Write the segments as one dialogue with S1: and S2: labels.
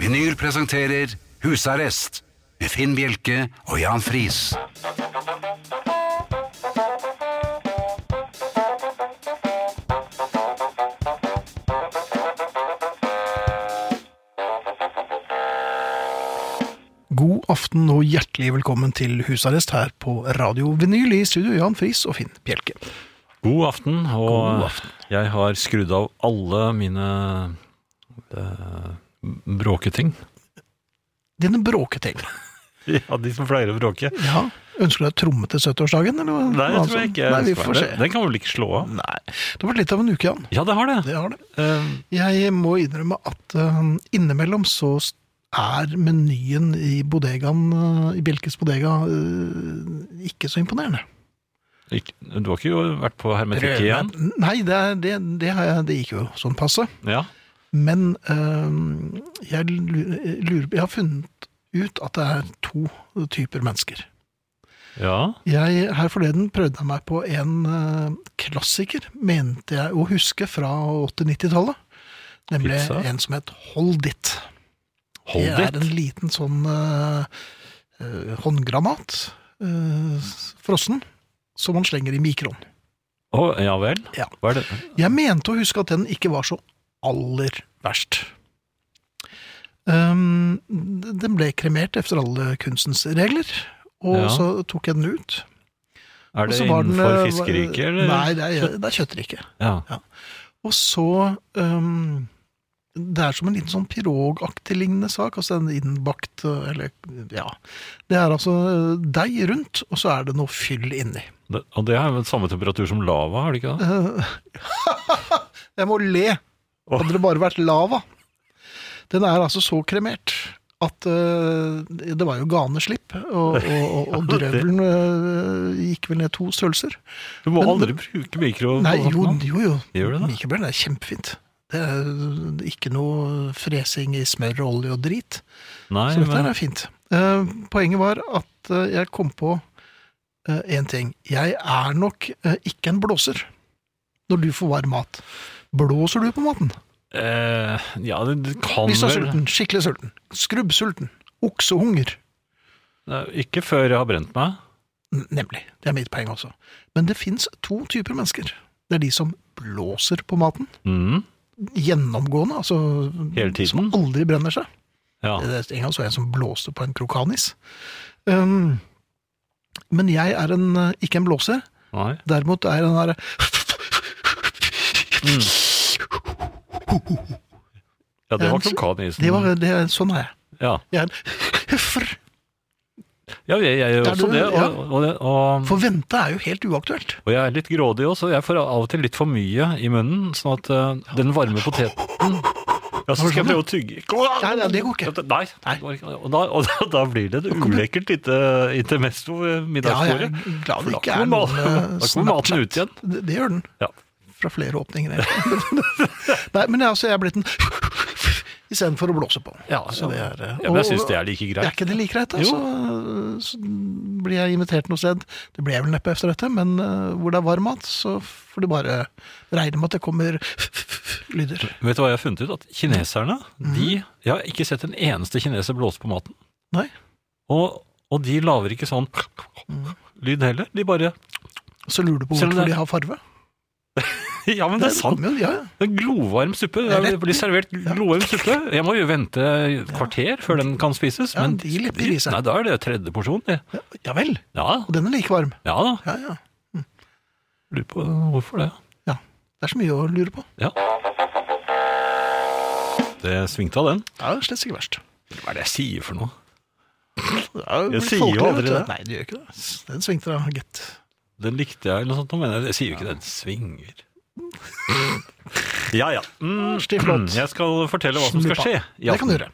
S1: Vinyl presenterer Husarrest med Finn Bjelke og Jan Friis.
S2: God aften og hjertelig velkommen til husarrest her på Radio Vinyl i studio, Jan Friis og Finn Bjelke.
S3: God aften, og
S2: God aften.
S3: jeg har skrudd av alle mine eh, bråketing.
S2: Dine bråketing.
S3: Ja, de som pleier å bråke.
S2: Ja, ønsker du deg tromme til 70-årsdagen? eller hva-
S3: Nei,
S2: hva
S3: jeg tror jeg
S2: altså?
S3: ikke.
S2: Nei, vi
S3: skal
S2: får
S3: det.
S2: se.
S3: Den kan vel ikke slå av?
S2: Nei, det har vært litt av en uke, Jan.
S3: Ja, det har det.
S2: Det har det.
S3: Eh,
S2: Jeg må innrømme at eh, innimellom så s- er menyen i bodegaen, eh, i Bjelkes bodega, eh, ikke så imponerende.
S3: ikke- du har ikke jo vært på hermetikk igjen?
S2: Nei, det, er, det, det, har jeg, det gikk jo sånn passe.
S3: Ja.
S2: Men øhm, jeg lurer Jeg har funnet ut at det er to typer mennesker.
S3: ja.
S2: Jeg, her forleden prøvde jeg meg på en øh, klassiker, mente jeg å huske, fra 80-90-tallet. Nemlig
S3: Pizza?
S2: en som het Hold It.
S3: Hold
S2: det
S3: it.
S2: er en liten sånn øh, øh, håndgranat, øh, s- frossen, som man slenger i mikroen.
S3: Å, ja vel.
S2: Ja.
S3: Hva er det?
S2: Jeg mente å huske at den ikke var så aller verst. Ehm, den ble kremert efter alle kunstens regler, og
S3: Ja.
S2: så tok jeg den ut.
S3: Er det
S2: Og så var den,
S3: innenfor
S2: eh,
S3: fiskeriket, eller?
S2: Nei, det er, det er kjøttriket.
S3: Ja.
S2: Og så ehm, Det er som en liten sånn pirogaktig lignende sak. Altså en innbakt eh, Eller, ja. Det er altså eh, deig rundt, og så er det noe fyll inni.
S3: Det, og det er jo samme temperatur som lava, har det ikke det?
S2: Eh, jeg må le. Hadde det bare vært lava. Den er altså så kremert at eh, det var jo ganeslipp, og, og, og, og
S3: Ja, det-
S2: drøvelen eh, gikk vel ned to størrelser.
S3: Du må
S2: Men-
S3: aldri bruke mikro.
S2: Nei, jo, jo. jo.
S3: Gjør du det?
S2: Mikebjørn er kjempefint. Det er eh, ikke noe fresing i smør og olje og drit.
S3: Nei,
S2: Så dette
S3: men,
S2: her er fint. Eh, poenget var at eh, jeg kom på én ting. Jeg er nok eh, ikke en blåser når du får varm mat. Blåser du på maten?
S3: eh, ja, det, det kan
S2: Hvis du er
S3: vel
S2: sulten, skikkelig sulten, skrubbsulten, oksehunger.
S3: Nei, Ikke før jeg har brent meg.
S2: N- Nemlig. Det er mitt poeng også. Men det fins to typer mennesker. Det er de som blåser på maten.
S3: Mm.
S2: Gjennomgående, altså
S3: Hele tiden?
S2: Som aldri brenner seg.
S3: Ja.
S2: Det er- En gang så jeg en som blåste på en krokanis. Um, men jeg er en, eh, ikke en blåser.
S3: Nei.
S2: Derimot er den derre
S3: Ja, det var
S2: Ja,
S3: krokanisen.
S2: det var, det, er- Sånn er jeg.
S3: Ja,
S2: Jeg er en høffer.
S3: ja jeg, jeg gjør
S2: Er
S3: også
S2: du-
S3: det.
S2: ja.
S3: Og, og, det- og,
S2: For vente er jo helt uaktuelt.
S3: og jeg er litt grådig også. Jeg får av og til litt for mye i munnen, sånn at eh, den varme poteten Ja, så skal jeg prøve å tygge
S2: sånn, Nei, nei, det går ikke.
S3: Nei. det går ikke. Og, da, og da, da blir det et ulekkert lite intermesto ved
S2: Ja, jeg er
S3: middagsbordet.
S2: glad
S3: For
S2: det
S3: da
S2: ikke er
S3: kommer
S2: noen
S3: mat-
S2: eh,
S3: da kommer maten ut igjen.
S2: Snapchat. Det, det gjør den.
S3: Ja.
S2: Fra flere åpninger. egentlig. Nei, men jeg, altså, jeg er blitt en istedenfor å blåse på.
S3: Ja,
S2: Så det er, eh,
S3: ja, men jeg
S2: og-
S3: syns det er like
S2: Er
S3: greit.
S2: ikke det like greit, da? Så, så blir jeg invitert noe sted. Det blir jeg vel neppe etter dette, men eh, hvor det er varm mat, så får du bare regne med at det kommer lyder.
S3: Vet du hva jeg har funnet ut? At kineserne,
S2: Mhm.
S3: de Jeg har ikke sett en eneste kineser blåse på maten.
S2: Nei. Mhm.
S3: Og, og de lager ikke sånn lyd heller. De bare
S2: Så lurer du på
S3: Selv om
S2: hvorfor
S3: det-
S2: de har farve.
S3: Ja, men det er sant!
S2: kommer jo- Ja, ja.
S3: Det er glovarm suppe.
S2: Det er
S3: Det
S2: rett.
S3: blir servert glovarm suppe. Jeg må jo vente et kvarter før den kan spises.
S2: Ja,
S3: men
S2: de lepper i seg.
S3: Nei, da er det tredje porsjon. det.
S2: Ja, ja vel.
S3: Ja,
S2: Og den er like varm.
S3: ja da.
S2: Ja, ja.
S3: Lurer på hvorfor det.
S2: ja. Det er så mye å lure på.
S3: Ja. Det svingte av den.
S2: Ja, det er slett ikke verst.
S3: Hva er det jeg sier for noe?
S2: Det er
S3: Jeg
S2: blitt
S3: sier jo
S2: folkelig,
S3: aldri
S2: vet du.
S3: det.
S2: Nei, det gjør ikke det. Den svingte da, gitt.
S3: Den likte jeg, eller noe sånt. nå, Men jeg sier jo ikke det. Den svinger. Ja, ja. Mm,
S2: Stiv flott.
S3: Jeg skal fortelle hva som skal skje. i
S2: Det kan du
S3: aften.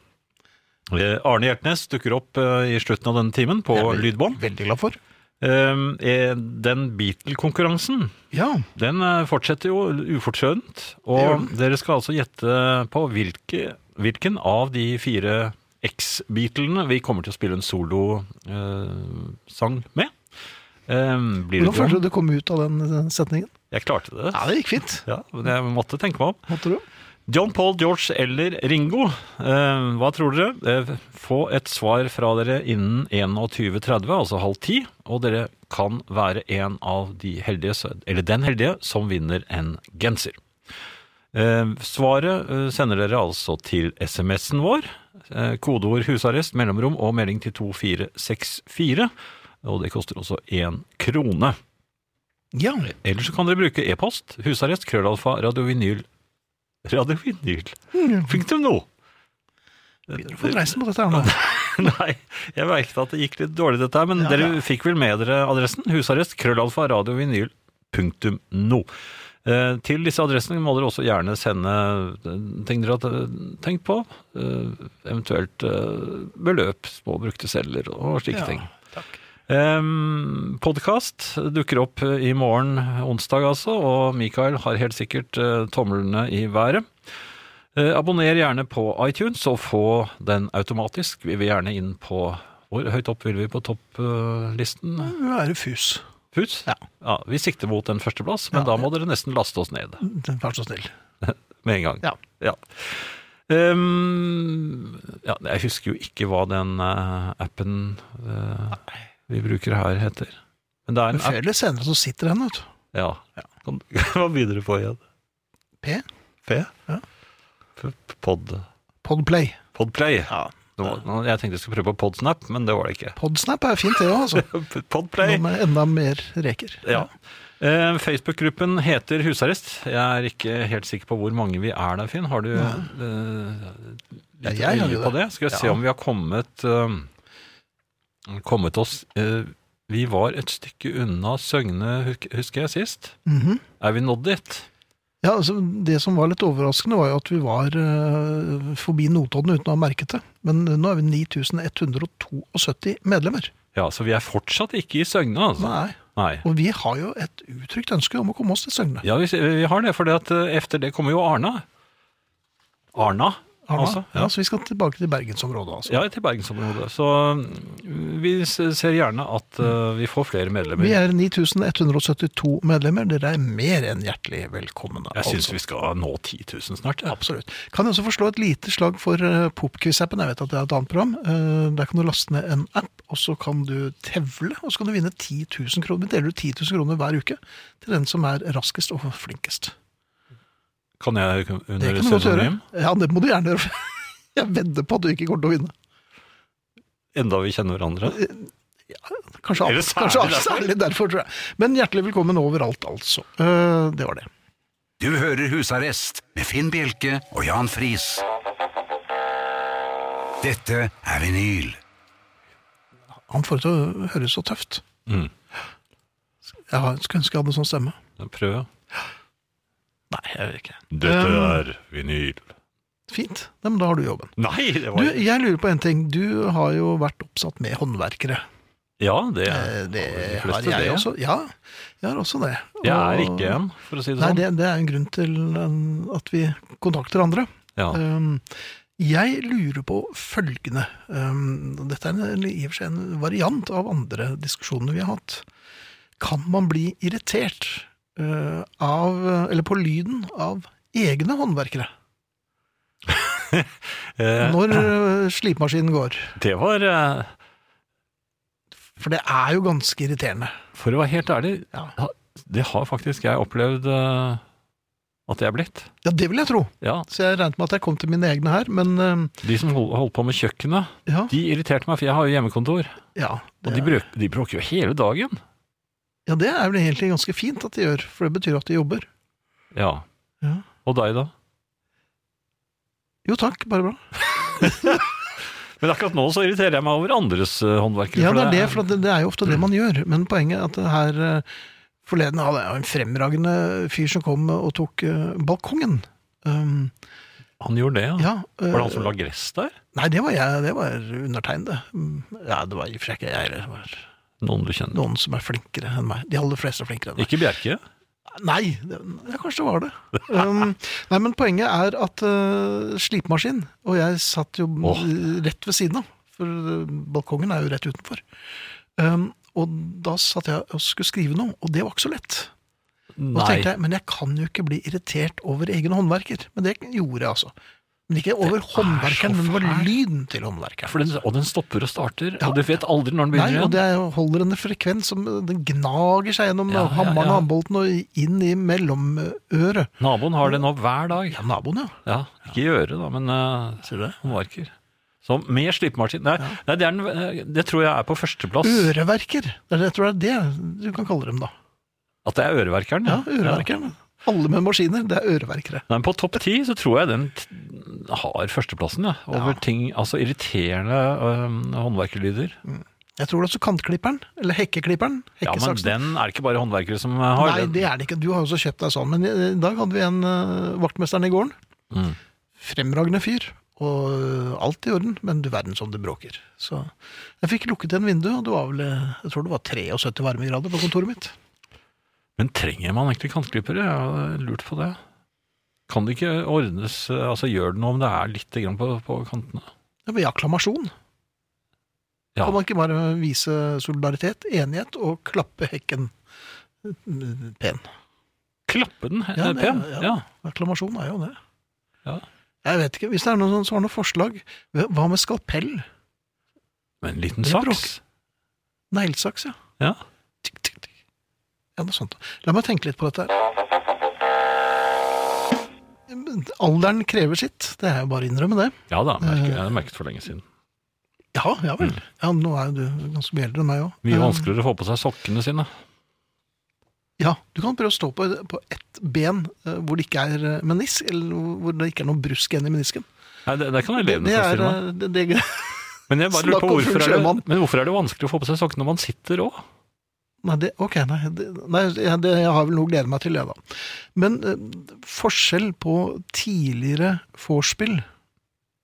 S2: gjøre.
S3: Eh, Arne Hjertnes dukker opp eh, i slutten av denne timen på
S2: Det er vi
S3: lydbånd.
S2: Veldig glad for.
S3: Um, eh, den Beatle-konkurransen
S2: Ja.
S3: den eh, fortsetter jo ufortrødent.
S2: gjør
S3: Og dere skal altså gjette på hvilke, hvilken av de fire X-Beatlene vi kommer til å spille en solosang med. Um, blir det
S2: Hvordan følte
S3: John?
S2: du det kom ut av den den setningen?
S3: Jeg klarte det.
S2: Ja, det gikk fint.
S3: Ja, men jeg måtte tenke meg om.
S2: Måtte du?
S3: John Paul, George eller Ringo, eh, hva tror dere? Eh, få et svar fra dere innen 21.30, altså halv ti, og dere kan være en av de heldige, s- eller den heldige, som vinner en genser. Eh, svaret eh, sender dere altså til SMS-en vår. Eh, kodeord 'husarrest', mellomrom og melding til 2464. Og det koster også én krone.
S2: Ja,
S3: Eller så kan dere bruke e-post. Husarrest, krøllalfa, radiovinyl Radiovinyl
S2: Hm,
S3: Punktum nå!
S2: begynner å få dreisen på dette her nå.
S3: Nei, jeg merket at det gikk litt dårlig dette her, men
S2: Ja,
S3: dere fikk vel med dere adressen? Husarrest, krøllalfa, radiovinyl Punktum nå. Eh, til disse adressene må dere også gjerne sende eh, ting dere har eh, tenkt på. Eh, eventuelt eh, beløp, små brukte celler og slike ting.
S2: takk.
S3: Um, Podkast dukker opp eh, i morgen, onsdag altså, og Mikael har helt sikkert eh, tomlene i været. Eh, abonner gjerne på iTunes og få den automatisk. Vi vil gjerne inn på Hvor høyt opp vil vi på topplisten?
S2: Du er fus.
S3: Fus?
S2: Ja.
S3: vi sikter mot en førsteplass, men
S2: Ja.
S3: da må dere nesten laste oss ned
S2: Vær så snill.
S3: med en gang.
S2: Ja.
S3: Ehm, ja, jeg husker jo ikke hva den eh, appen eh, vi bruker her, heter. Men det er
S2: Men
S3: en app
S2: før eller senere så sitter den, vet du.
S3: Ja. Kan- Hva begynner du på igjen?
S2: P?
S3: P?
S2: Ja.
S3: P- Pod.
S2: Podplay.
S3: Podplay.
S2: Ja.
S3: Det var, nå- jeg tenkte jeg skulle prøve på Podsnap, men det var det ikke.
S2: Podsnap er fint, det òg, altså.
S3: Podplay.
S2: Nå med enda mer reker.
S3: Ja. Eh, Facebook-gruppen heter Husarrest. Jeg er ikke helt sikker på hvor mange vi er der, Finn. Har du eh,
S2: Ja,
S3: litt
S2: jeg har
S3: øye
S2: jo
S3: på
S2: det.
S3: det? Skal jeg se
S2: Ja.
S3: om vi har kommet eh, kommet oss eh, Vi var et stykke unna Søgne, huk- husker jeg sist.
S2: Mhm.
S3: Er vi nådd dit?
S2: ja, altså Det som var litt overraskende, var jo at vi var eh, forbi Notodden uten å ha merket det. Men nå er vi 9172 medlemmer.
S3: Ja, så vi er fortsatt ikke i Søgne, altså.
S2: Nei.
S3: Nei.
S2: Og vi har jo et uttrykt ønske om å komme oss til Søgne.
S3: Ja, vi, vi har det, for etter det kommer jo Arna. Arna,
S2: Arna.
S3: altså.
S2: ja.
S3: Ja.
S2: Så vi skal tilbake til bergensområdet, altså.
S3: Ja, til bergensområdet. Så mm, vi s- ser gjerne at eh, vi får flere
S2: Vi
S3: medlemmer.
S2: er 9172 medlemmer. Dere er mer enn hjertelig velkomne. altså.
S3: Jeg syns vi skal nå 10 000 snart. Ja.
S2: Absolutt. Kan jeg også forslå et lite slag for eh, Popquiz-appen? Jeg vet at det er et annet program. Eh, Der kan du laste ned en app, og så kan du tevle, og så kan du vinne 10 000 kroner. Vi deler ut 10 000 kroner hver uke til den som er raskest og flinkest.
S3: Kan jeg
S2: Det
S3: under
S2: kan du godt gjøre.
S3: pseudonym,
S2: Ja, det må du gjerne gjøre. Jeg vedder på at du ikke kommer til å vinne.
S3: enda vi kjenner hverandre?
S2: Kanskje,
S3: Eller
S2: alt,
S3: særlig
S2: kanskje alt,
S3: derfor.
S2: særlig derfor, tror jeg. Men hjertelig velkommen overalt, altså. Eh, Det var det.
S1: Du hører Husarrest med Finn Bjelke og Jan Friis. Dette er vinyl.
S2: Han får det til å høres så tøft.
S3: Mm.
S2: Jeg har- skulle ønske jeg hadde sånn stemme.
S3: Prøv.
S2: Nei, jeg gjør ikke det.
S3: Dette er vinyl.
S2: Fint. Ja, men da har du jobben.
S3: Nei, det
S2: Du,
S3: var
S2: jeg lurer på en ting. Du har jo vært oppsatt med håndverkere.
S3: Ja, det,
S2: Eh, Det
S3: de
S2: har
S3: fleste det.
S2: jeg også. Ja, jeg har også det.
S3: Jeg er
S2: Og-
S3: ikke en, for å si det
S2: Nei,
S3: sånn.
S2: det, det er en grunn til eh, at vi kontakter andre.
S3: Ja.
S2: Um, Jeg lurer på følgende um, Dette er en, eller i og for seg en variant av andre diskusjoner vi har hatt. Kan man bli irritert uh, av Eller på lyden av egne håndverkere
S3: Eh,
S2: når uh, slipemaskinen går?
S3: Det var eh,
S2: For det er jo ganske irriterende.
S3: For å være helt ærlig,
S2: Ja.
S3: ha- det har faktisk jeg opplevd eh, at jeg er blitt.
S2: Ja, det vil jeg tro.
S3: Ja,
S2: Så jeg regnet med at jeg kom til mine egne her, men um,
S3: De som hol- holdt på med kjøkkenet,
S2: ja.
S3: de irriterte meg, for jeg har jo hjemmekontor.
S2: Ja
S3: Og
S2: det,
S3: de, brøk, de bråker jo hele dagen.
S2: ja, det er vel egentlig ganske fint at de gjør, for det betyr at de jobber.
S3: Ja.
S2: Ja.
S3: Og deg, da?
S2: Jo takk, bare bra.
S3: Men akkurat nå så irriterer jeg meg over andres eh, håndverkere.
S2: Ja, det er det, for at det, det er jo ofte det man gjør. Men poenget er at det her eh, forleden hadde jeg jo en fremragende fyr som kom og tok eh, balkongen. Um,
S3: Han gjorde det, ja.
S2: ja, eh,
S3: Var det han som la gress der?
S2: Nei, det var jeg. Det var undertegnede. Mm, Ja, det var i og for seg ikke jeg. Det var
S3: Noen du kjenner?
S2: noen som er flinkere enn meg. De aller fleste er flinkere enn meg.
S3: Ikke Bjerke?
S2: Nei, det, ja, kanskje det var det. Um, nei, men poenget er at eh, slipemaskin Og jeg satt jo
S3: Åh.
S2: eh, rett ved siden av, for eh, balkongen er jo rett utenfor. Um, og da satt jeg og skulle skrive noe, og det var ikke så lett. Og så
S3: Nei.
S2: tenkte jeg, Men jeg kan jo ikke bli irritert over egen håndverker. Men det gjorde jeg, altså. Men ikke over håndverkeren, men over
S3: fælt.
S2: lyden til håndverkeren.
S3: For den, og den stopper og starter, og du vet aldri når den
S2: Nei,
S3: begynner
S2: og det
S3: igjen.
S2: er jo- holder en frekvens som eh, den gnager seg gjennom
S3: Ja, ja,
S2: hammeren og
S3: ja.
S2: håndbolten og inn i mellomøret.
S3: Naboen har det nå hver dag.
S2: Ja, naboen, ja.
S3: Ja, ikke i øret da, men eh,
S2: Ser du det?
S3: håndverker. Så med slipmaskin. Nei, nei det, er den, eh, det tror jeg er på førsteplass.
S2: Øreverker. Det er det, jeg tror det er det du kan kalle dem, da.
S3: At det er øreverkeren.
S2: Ja, øreverkeren. Alle med maskiner, det er øreverkere.
S3: Nei, men på topp ti så tror jeg den t- har førsteplassen, ja. Over
S2: Ja.
S3: ting, altså irriterende eh, håndverkerlyder.
S2: Jeg tror det er også kantklipperen, eller hekkeklipperen.
S3: Ja, men
S2: Hekkesaksen.
S3: den er det ikke bare håndverkere som eh, har.
S2: Nei,
S3: den.
S2: det er det ikke. Du har jo også kjøpt deg sånn. Men i dag hadde vi en eh, vaktmesteren i gården.
S3: Mm.
S2: Fremragende fyr. Og eh, alt i orden, men du verden som det bråker. Så jeg fikk lukket igjen vinduet, og det var vel eh, jeg tror det var 73 varmegrader på kontoret mitt.
S3: Men trenger man egentlig kantklippere? Jeg har eh, lurt på det. Kan det ikke ordnes, eh, altså gjør det noe om det er litt grann på, på kantene?
S2: Det var i akklamasjon.
S3: Ja.
S2: Kan man ikke bare vise solidaritet, enighet, og klappe hekken eh, pen?
S3: Klappe den eh,
S2: Ja, det-
S3: pen?
S2: ja.
S3: ja.
S2: Akklamasjon er jo det.
S3: Ja.
S2: Jeg vet ikke, Hvis det er noen som har noen forslag Hva med skalpell?
S3: Med en liten
S2: Det er
S3: saks?
S2: Neglesaks, ja.
S3: Ja.
S2: Tikk, tikk, tikk. Ja, noe sånt. La meg tenke litt på dette. Alderen krever sitt. Det er jo bare å innrømme det.
S3: Ja da, merket, jeg har merket for lenge siden.
S2: Ja, ja vel. Ja, nå er jo du ganske mye eldre enn meg Eh, òg.
S3: Mm. Mye vanskeligere å få på seg sokkene sine.
S2: Ja, du kan prøve å stå på, på ett ben eh, hvor det ikke er eh, menisk, eller hvor det ikke er noe brusk igjen i menisken.
S3: Nei, det, det kan elevene
S2: Det er,
S3: forstyrre meg.
S2: eh, det, det,
S3: Men jeg bare lurer
S2: snakk
S3: på
S2: om
S3: hvorfor er, det,
S2: sjømann.
S3: men hvorfor er det vanskelig å få på seg sokkene når man sitter òg?
S2: Nei, det, ok, nei, det, nei jeg- det, jeg har vel noe å glede meg til, jeg da. Men eh, forskjell på tidligere vorspiel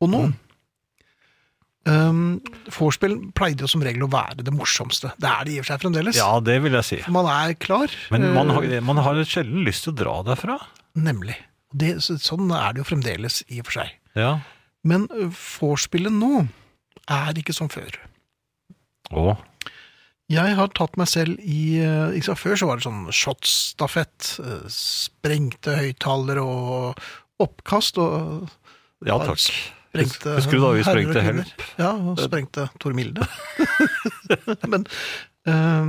S2: og nå
S3: Mm.
S2: um, Vorspiel pleide jo som regel å være det morsomste. Det er det i og for seg fremdeles.
S3: Ja, det vil jeg si.
S2: Man er klar.
S3: Men man har,
S2: eh,
S3: man har sjelden lyst til å dra derfra.
S2: Nemlig. Det, så, sånn er det jo fremdeles i og for seg.
S3: Ja.
S2: Men eh, vorspielet nå er ikke som før.
S3: Å.
S2: Jeg har tatt meg selv i eh, ikke sant, Før så var det sånn shotstafett, eh, sprengte høyttalere og oppkast. Og
S3: Ja takk.
S2: sprengte
S3: Husker du da
S2: herrer
S3: vi
S2: og
S3: sprengte
S2: kvinner.
S3: Help?
S2: Ja, og sprengte Tor Milde. Men eh,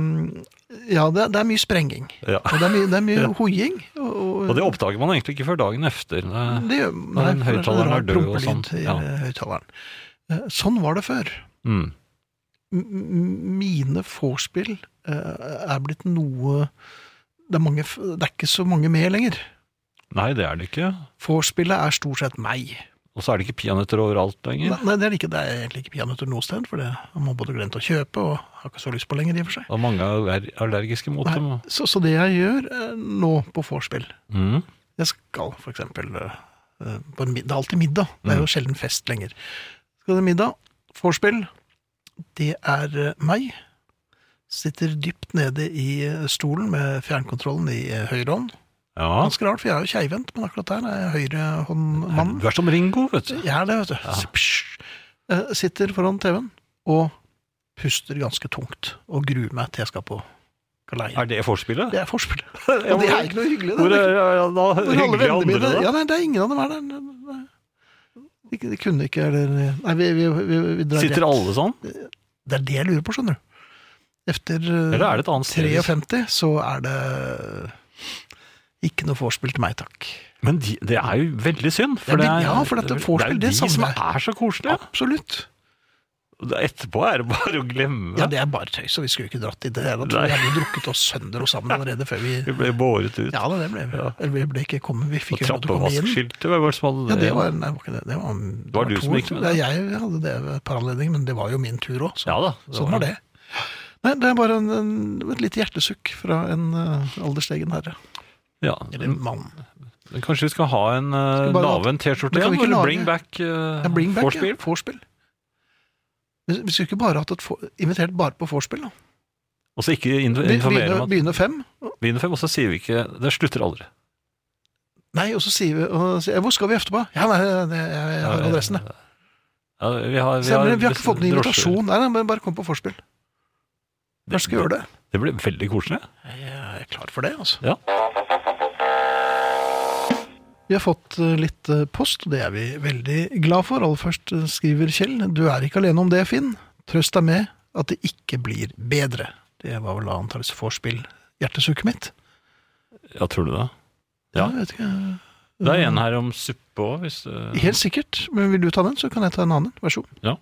S2: Ja, det, det er mye sprenging.
S3: Ja.
S2: Og det er mye, det er mye hoiing. Og,
S3: Og det oppdager man egentlig ikke før dagen efter. Det-
S2: det gjør
S3: når
S2: for
S3: en
S2: det
S3: høyttaleren
S2: rar
S3: er død og
S2: prompelyd
S3: sånn,
S2: i,
S3: ja.
S2: eh, høyttaleren. Eh, Sånn var det før.
S3: Mm.
S2: m- mine vorspiel eh, er blitt noe det er, mange, f- det er ikke så mange med lenger.
S3: Nei, det er det ikke.
S2: Vorspielet er stort sett meg.
S3: Og så er det ikke peanøtter overalt lenger.
S2: Nei, det er, ikke, det er egentlig ikke peanøtter noe sted, for det har man både glemt å kjøpe og har ikke så lyst på lenger, i og for seg.
S3: Og mange er aller- allergiske mot
S2: Nei,
S3: dem.
S2: så, så det jeg gjør eh, nå på vorspiel
S3: Mm.
S2: Jeg skal for eksempel eh, eh, på en middag, Det er alltid middag. Det
S3: Mm.
S2: er jo sjelden fest lenger. Skal det middag, vorspiel, det er eh, meg. Sitter dypt nede i eh, stolen med fjernkontrollen i eh, høyre hånd.
S3: Ja.
S2: Ganske rart, for jeg er jo keivhendt, men akkurat der er jeg høyrehåndmannen.
S3: Du er som Ringo, vet du.
S2: Jeg er det, vet du. Psj. Eh, Sitter foran TV-en og puster ganske tungt og gruer meg til jeg skal på galeien.
S3: Er det forspillet?
S2: Det er forspill. Og det er ikke noe hyggelig. det.
S3: Hvor er ja, ja, da
S2: Hvor alle
S3: hyggelige
S2: vennene
S3: andre,
S2: mine
S3: da?
S2: Ja, nei, det er ingen av dem er der. Nei. De, de kunne ikke, eller Nei, vi, vi, vi, vi drar
S3: Sitter
S2: rett.
S3: alle sånn?
S2: Det er det jeg lurer på, skjønner du. Etter eh,
S3: Eller er det et annet sted?
S2: 53 så er det ikke noe vorspiel til meg, takk.
S3: Men de, det er jo veldig synd.
S2: Ja, men- ja, for dette vorspiel,
S3: det er
S2: det
S3: jo de som
S2: savner jeg.
S3: er så koselige.
S2: Absolutt.
S3: Og det- Etterpå er det bare å glemme.
S2: Ja, det er bare tøys, og vi skulle jo ikke dratt i det hele tatt.
S3: Nei.
S2: Vi hadde jo drukket oss sønder og sammen allerede før vi
S3: Vi ble båret ut.
S2: Ja da, det ble vi.
S3: Ja.
S2: Eller vi ble ikke kommet, vi
S3: og
S2: fikk jo lov til å komme inn.
S3: trappevaskskiltet, hvem var det som hadde
S2: Ja,
S3: det?
S2: det var, nei, det var ikke det. Det var, det
S3: var du som
S2: to,
S3: gikk med
S2: tror jeg. Ja, jeg hadde det ved et par anledninger, men det var jo min tur òg.
S3: Ja da.
S2: Sånn var det. Nei, det er bare en, en, et lite hjertesukk fra en eh, alderslegen herre.
S3: Ja.
S2: Eller mann.
S3: Men Kanskje vi skal ha en uh,
S2: vi bare
S3: lave en
S2: Men
S3: T-skjorte
S2: kan vi
S3: igjen?
S2: ikke
S3: Eller
S2: lage-
S3: bring back uh,
S2: Ja, bring back,
S3: vorspiel?
S2: Ja, vorspiel. Vi, vi skulle ikke bare hatt et for, invitert bare på vorspiel, da.
S3: Og så ikke in-
S2: Be-
S3: informere
S2: Begynne,
S3: om at
S2: begynne fem. og-
S3: Wiener fem, og så sier vi ikke Det slutter aldri.
S2: Nei, og så sier vi og, sier jeg, Hvor skal vi etterpå? Ja, nei, det, jeg, jeg har adressen, jeg.
S3: Eh, Ja, vi har, vi
S2: Stemmer, det, vi har ikke fått noen
S3: drosjer.
S2: invitasjon. Nei, nei, men bare kom på vorspiel. Kanskje skal vi gjøre det.
S3: Det blir veldig koselig.
S2: Jeg er klar for det, altså.
S3: Ja.
S2: Vi har fått eh, litt eh, post, og det er vi veldig glad for. Aller først eh, skriver Kjell Du er ikke alene om det, Finn. Trøst deg med at det ikke blir bedre. Det var vel antakeligvis vorspiel. Hjertesukket mitt.
S3: Ja, tror du det? Ja.
S2: Jeg vet ikke.
S3: Det er en her om suppe òg, hvis eh,
S2: Helt sikkert. Men vil du ta den, så kan jeg ta en annen. Vær så god.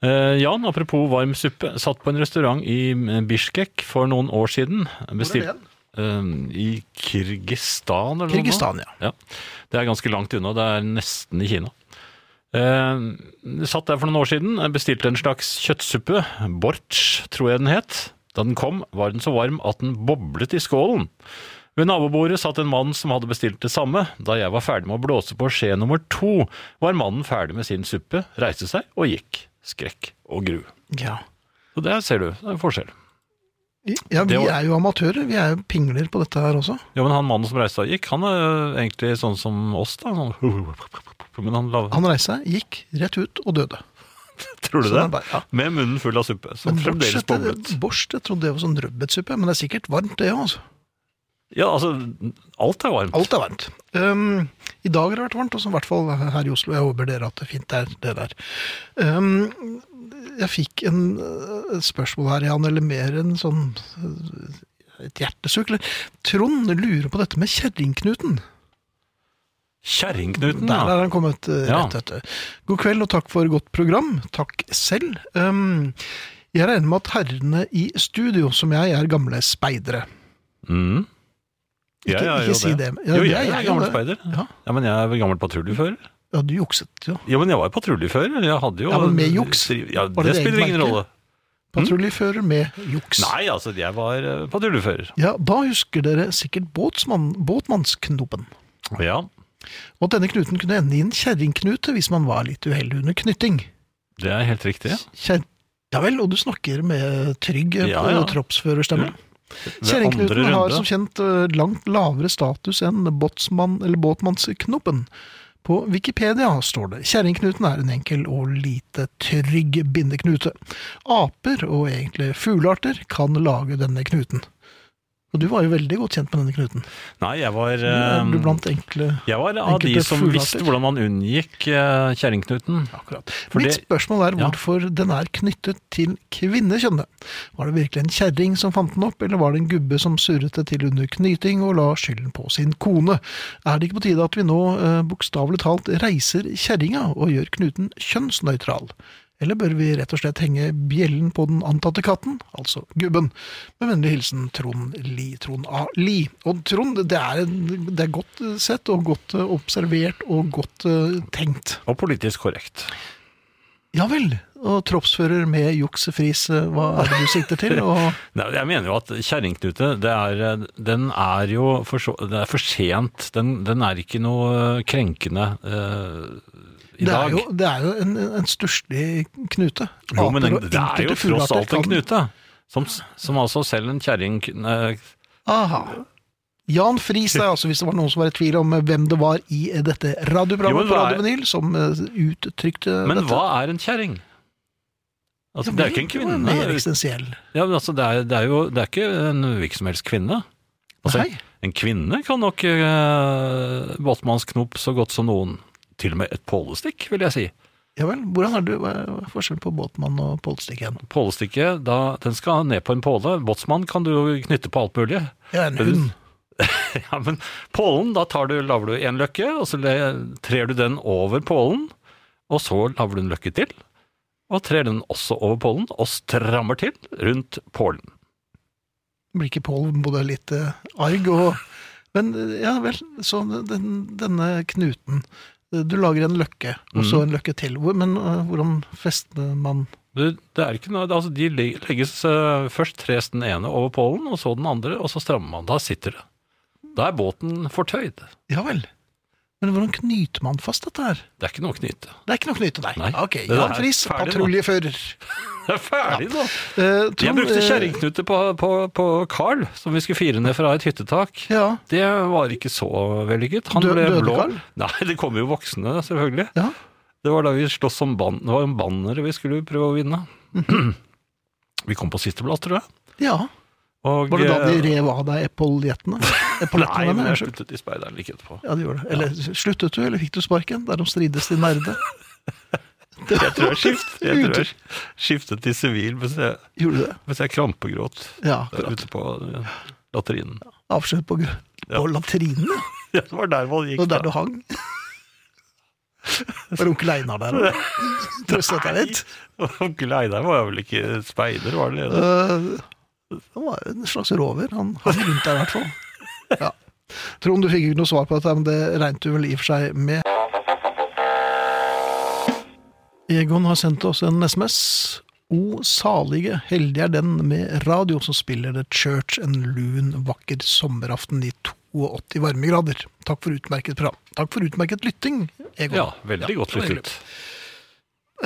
S3: Eh, Jan, apropos varm suppe. Satt på en restaurant i eh, Bishkek for noen år siden. Bestilt, eh, I Kirgistan, eller noe?
S2: Kirgistan, ja.
S3: Det er ganske langt unna, det er nesten i Kina. Eh, satt der for noen år siden, bestilte en slags kjøttsuppe, borch tror jeg den het. Da den kom, var den så varm at den boblet i skålen. Ved nabobordet satt en mann som hadde bestilt det samme. Da jeg var ferdig med å blåse på skje nummer to, var mannen ferdig med sin suppe, reiste seg og gikk. Skrekk og gru.
S2: ja.
S3: Så der ser du, det er forskjell.
S2: Ja, vi
S3: Det var-
S2: er jo amatører. Vi er jo pingler på dette her også.
S3: Ja, men han mannen som reiste og gikk, han er jo egentlig sånn som oss, da. Sånn, men han, la-
S2: Han sånn reiste seg, gikk rett ut og døde.
S3: tror du
S2: Så
S3: det?
S2: han bare, ja.
S3: Med munnen full av suppe, som
S2: Men
S3: fremdeles
S2: bortsett fra
S3: boblet.
S2: det- borst, jeg trodde det var sånn rødbetsuppe, men det er sikkert varmt det òg, altså.
S3: Ja, altså, alt er varmt.
S2: Alt er varmt. Um, I dag har det vært varmt, også, i hvert fall her i Oslo. Jeg håper dere at det er fint der, det der. Um, jeg fikk en, øh, et spørsmål her, Jan, eller mer enn sånn øh, et hjertesukk. eller- Trond lurer på dette med kjerringknuten.
S3: Kjerringknuten,
S2: Der
S3: ja.
S2: er han kommet eh,
S3: Ja.
S2: rett etter. God kveld og takk for godt program. Takk selv. Um, jeg regner med at herrene i studio, som jeg, er gamle speidere.
S3: Mm.
S2: Ikke,
S3: Jeg er
S2: ikke si det. Ja,
S3: jo,
S2: det
S3: jeg er
S2: jo
S3: gammel
S2: det.
S3: speider.
S2: Ja.
S3: Ja. men jeg er vel gammel patruljefører.
S2: Ja, du jukset jo.
S3: Ja, men jeg var patruljefører. Jeg hadde jo
S2: Ja, men med juks?
S3: Ja,
S2: Var
S3: det,
S2: det det
S3: spiller ingen
S2: egentlig?
S3: rolle.
S2: Patruljefører med juks.
S3: Mm. Nei, altså, jeg var eh, patruljefører.
S2: Ja, da husker dere sikkert båtsmann, båtmannsknopen.
S3: Ja,
S2: Og at denne knuten kunne ende i en kjerringknute hvis man var litt uheldig under knytting.
S3: det er helt riktig.
S2: Kjer ja vel, og du snakker med trygg eh,
S3: Ja, ja.
S2: troppsførerstemme.
S3: Ved
S2: Kjerringknuten
S3: andre
S2: har
S3: runde.
S2: som kjent eh, langt lavere status enn båtsmann, eller båtmannsknopen. På Wikipedia står det kjerringknuten er en enkel og lite trygg bindeknute. Aper, og egentlig fuglearter, kan lage denne knuten. Og du var jo veldig godt kjent med denne knuten.
S3: Nei, jeg var
S2: Er du
S3: eh,
S2: blant enkle
S3: Jeg var av de
S2: enkelte
S3: som
S2: fuglearter?
S3: visste hvordan man unngikk eh, kjerringknuten.
S2: Akkurat.
S3: For
S2: Mitt
S3: det-
S2: spørsmål er
S3: Ja.
S2: hvorfor den er knyttet til kvinnekjønnet. Var det virkelig en kjerring som fant den opp, eller var det en gubbe som surret det til under knyting og la skylden på sin kone? Er det ikke på tide at vi nå eh, bokstavelig talt reiser kjerringa og gjør knuten kjønnsnøytral? Eller bør vi rett og slett henge bjellen på den antatte katten, altså gubben? Med vennlig hilsen Trond Li. Trond A. Li. Og Trond, det er, det er godt eh, sett og godt eh, observert og godt eh, tenkt.
S3: Og politisk korrekt.
S2: Ja vel. Og troppsfører med juksefris, eh, hva er det du sikter til? Og
S3: Nei, jeg mener jo at kjerringknute, det er, eh, den er jo for, så, det er for sent. Den, den er ikke noe krenkende eh, i
S2: det, er
S3: dag.
S2: jo, det er jo en, en stusslig knute.
S3: Jo, men den,
S2: Aper og
S3: det er jo
S2: enkelte
S3: tross
S2: fuglearter
S3: alt en
S2: kan-
S3: knute. Som, som altså selv en kjerring eh,
S2: Aha. Jan Friis, det er altså, hvis det var noen som var i tvil om eh, hvem det var i eh, dette
S3: Jo,
S2: radioprogrammet
S3: men
S2: på
S3: hva er-
S2: Radio Vinyl, som eh, uttrykte
S3: Men
S2: dette.
S3: hva er en kjerring? Altså,
S2: Ja,
S3: det er jo ikke en
S2: det var
S3: kvinne.
S2: Mer eksistensiell.
S3: Ja, men altså, det, er, det, er jo, det er ikke en hvilken som helst kvinne. Altså,
S2: Nei.
S3: En kvinne kan nok uh, båtmannsknop så godt som noen. Til og med et pålestikk, vil jeg si.
S2: Ja vel. Hvordan er det, hva er forskjellen på båtmann og polstikk igjen?
S3: Pålestikket, da, den skal ned på en påle. Båtsmann kan du jo knytte på alt mulig.
S2: Ja, en hund.
S3: Ja, men pålen, da tar du, laver du en løkke, og så le- trer du den over pålen, og så laver du en løkke til, og trer den også over pålen, og strammer til rundt pålen.
S2: Blir ikke Pål både litt eh, arg og Men eh, ja vel, så den, denne knuten eh, Du lager en løkke, og
S3: Mm.
S2: så en løkke til. Hvor- Men eh, hvordan fester man
S3: Du, det er ikke noe, altså de le- legges, eh, først tres den ene over pålen, og så den andre, og så strammer man, da sitter det. Da er båten fortøyd.
S2: Ja vel. Men hvordan knyter man fast dette her?
S3: Det er ikke noe å knyte.
S2: Det er ikke noe å knyte, nei.
S3: Nei,
S2: ok,
S3: det
S2: Jan
S3: er
S2: Friis,
S3: ferdig nå.
S2: patruljefører.
S3: Det er ferdig nå.
S2: Eh, Trond,
S3: Jeg brukte
S2: eh,
S3: kjerringknute på, på, på Carl, som vi skulle fire ned fra et hyttetak.
S2: Ja,
S3: Det var ikke så vellykket. Han
S2: Dø-
S3: ble
S2: døde
S3: blå.
S2: Carl?
S3: Nei, det kom jo voksne, selvfølgelig.
S2: ja.
S3: Det var da vi sloss om ban det var en
S2: Mhm.
S3: banner vi skulle prøve å vinne. vi kom på sisteplass, tror jeg.
S2: ja.
S3: Og,
S2: Var det da de
S3: eh,
S2: rev av deg epoljettene? Epoljettene,
S3: Nei,
S2: mener
S3: men
S2: jeg,
S3: jeg
S2: unnskyld.
S3: sluttet i speideren like etterpå.
S2: Ja, det gjorde det. Eller sluttet du, eller fikk du sparken? Derom strides de nerde. Det
S3: Jeg tror jeg, skift, jeg, tror
S2: Ut-
S3: jeg skiftet til sivil mens jeg,
S2: Gjorde du det?
S3: mens jeg krampegråt
S2: Ja,
S3: der
S2: akkurat.
S3: ute på eh, latrinen.
S2: Avskjed på, gr- på latrinene.
S3: Ja, det var der man gikk.
S2: Det var
S3: da.
S2: der du hang. Var onkel Einar der òg? Trøstet deg litt?
S3: Onkel Einar var vel ikke speider, var det det?
S2: Øh, han var en slags rover. Han hang rundt der i hvert fall. Ja. Trond, du fikk ikke noe svar på dette, men det regnet du vel i og for seg med. Egon har sendt oss en SMS. O salige, heldig er den med radio som spiller The Church en lun, vakker sommeraften i 82 varmegrader. Takk for utmerket program. Takk for utmerket lytting, Egon.
S3: Ja, veldig godt
S2: det var
S3: lyttet.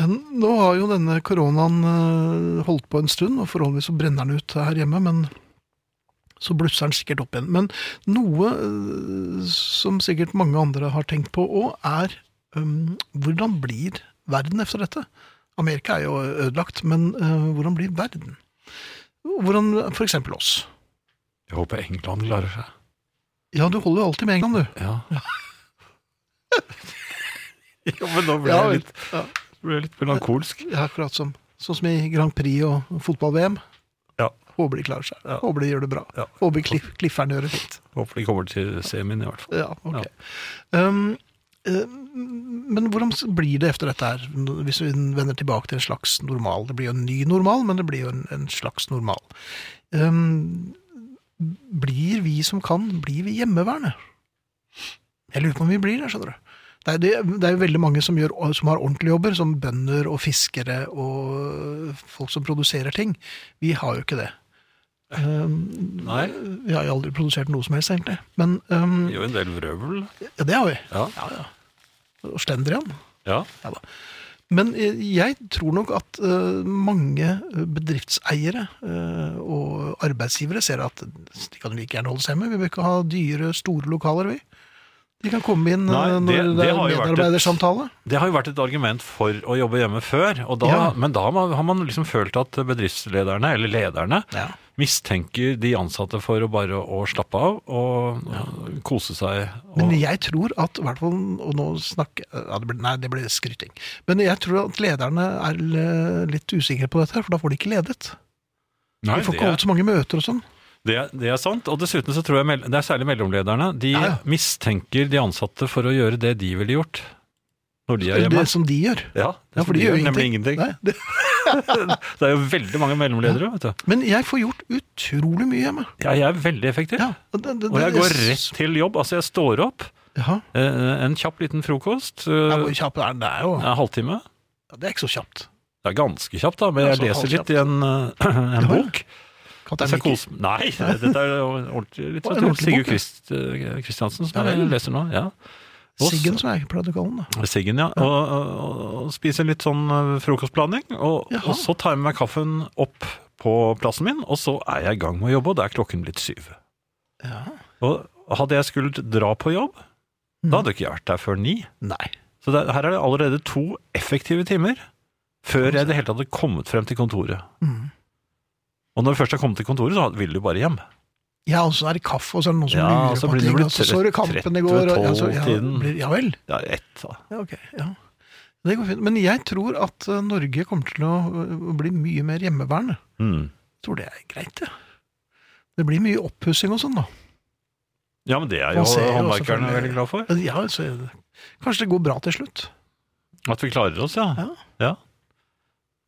S2: En- Nå har jo denne koronaen eh, holdt på en stund, og forholdsvis så brenner den ut her hjemme, men så blusser den sikkert opp igjen. Men noe eh, som sikkert mange andre har tenkt på òg, er um, hvordan blir verden efter dette? Amerika er jo ødelagt, men eh, hvordan blir verden? Hvordan for eksempel oss?
S3: Jeg håper England klarer seg.
S2: Ja, du holder jo alltid med England, du.
S3: Ja. ja, men nå ble
S2: Ja,
S3: jeg
S2: vel.
S3: litt,
S2: Ja.
S3: ble jeg litt melankolsk.
S2: Ja, akkurat som, sånn som i Grand Prix og fotball-VM.
S3: Ja.
S2: Håper de klarer seg.
S3: Ja.
S2: Håper de gjør det bra.
S3: Ja.
S2: Håper kliff, Klifferen gjør det fint.
S3: Håper de kommer til semien, i hvert fall.
S2: Ja, ok. Um, eh, men hvordan s- blir det etter dette her, hvis vi vender tilbake til en slags normal? Det blir jo en ny normal, men det blir jo en, en slags normal. Um, blir vi som kan, blir vi hjemmeværende? Jeg lurer på om vi blir det, skjønner du. Det er, det, det er jo veldig mange som, gjør, som har ordentlige jobber, som bønder og fiskere og folk som produserer ting. Vi har jo ikke det. Um,
S3: Nei,
S2: vi har jo aldri produsert noe som helst, egentlig. Men um,
S3: det gjør en del vrøvl.
S2: ja, det har vi.
S3: Ja.
S2: Ja, ja. Og slendrian.
S3: ja.
S2: Ja da. Men eh, jeg tror nok at eh, mange eh, bedriftseiere eh, og arbeidsgivere ser at de kan like gjerne holde seg med. Vi bør ikke ha dyre, store lokaler, vi. De kan komme inn eh,
S3: Nei,
S2: når
S3: det-
S2: det,
S3: det
S2: er
S3: har jo vært et-
S2: medarbeidersamtale.
S3: Det har jo vært et argument for å jobbe hjemme før, og da,
S2: Ja.
S3: men da har man- har man liksom følt at bedriftslederne, eller lederne,
S2: Ja.
S3: mistenker de ansatte for å bare å slappe av og, og kose seg. Og,
S2: Men jeg tror at, i hvert fall, og nå snakker eh, ja, det ble, Nei, det ble skryting. Men jeg tror at lederne er l- litt usikre på dette, her, for da får de ikke ledet.
S3: Nei,
S2: de får
S3: det
S2: ikke
S3: er-
S2: holdt så mange møter og sånn.
S3: Det, er- det er sant, og dessuten så tror jeg mell- det er særlig mellomlederne. De
S2: Ja, ja.
S3: mistenker de ansatte for å gjøre det de ville gjort når de er
S2: Eller
S3: hjemme.
S2: det som de gjør.
S3: Ja, det
S2: Ja,
S3: for de gjør nemlig ingenting.
S2: Nei, det,
S3: Det er jo veldig mange mellomledere, vet du.
S2: men jeg får gjort utrolig mye hjemme.
S3: Ja, jeg er veldig effektiv.
S2: Ja, og, det, det,
S3: Og jeg
S2: det-
S3: går rett til jobb. Altså, jeg står opp,
S2: Ja,
S3: eh, en kjapp liten frokost,
S2: ja,
S3: eh,
S2: hvor kjapt er den? Det er jo
S3: en halvtime.
S2: ja, Det er ikke så kjapt.
S3: Det er ganske kjapt, da, men
S2: Ja,
S3: jeg
S2: så
S3: leser
S2: halvkjapt.
S3: litt i en, eh, en
S2: Ja, ja.
S3: bok.
S2: Kaptein
S3: Jeg skal
S2: Mikkel.
S3: kose meg. Nei, dette er jo ordentlig
S2: Å, en
S3: litteratur.
S2: ordentlig
S3: Sigurd
S2: bok, ja.
S3: Christ, eh, Kristiansen som
S2: Ja,
S3: jeg
S2: vel.
S3: leser nå. Ja. Og s-
S2: Siggen, som jeg pleide å kalle den. da.
S3: Siggen, ja. Og, og, og spise litt sånn eh, frokostblanding. Og,
S2: Jaha.
S3: og så tar jeg med meg kaffen opp på plassen min, og så er jeg i gang med å jobbe, og da er klokken blitt syv.
S2: Ja.
S3: Og hadde jeg skulle dra på jobb, da hadde ikke jeg vært der før ni.
S2: Nei.
S3: Så det, her er det allerede to effektive timer før jeg i det hele tatt hadde kommet frem til kontoret.
S2: Mm.
S3: Og når jeg først har kommet til kontoret, så vil du bare hjem.
S2: Ja, og så er det kaffe, og så er det noen som
S3: Ja,
S2: lurer
S3: så
S2: på
S3: blir det
S2: ting.
S3: vel
S2: og Så så du kampen i
S3: 13
S2: går. og- ja, så-
S3: tolv-tiden.
S2: ja, blir- ja vel.
S3: Det er ett, da.
S2: Ja, ok. Ja. Det går fint. Men jeg tror at eh, Norge kommer til å eh, bli mye mer hjemmeværende.
S3: Mm.
S2: Jeg tror det er greit, det. Det blir mye oppussing og sånn, da.
S3: Ja, men det er jo
S2: Man ser jo
S3: håndverkerne
S2: selvfølgelig-
S3: veldig glad for.
S2: Ja, så er det. Kanskje det går bra til slutt.
S3: At vi klarer oss, ja.
S2: Ja.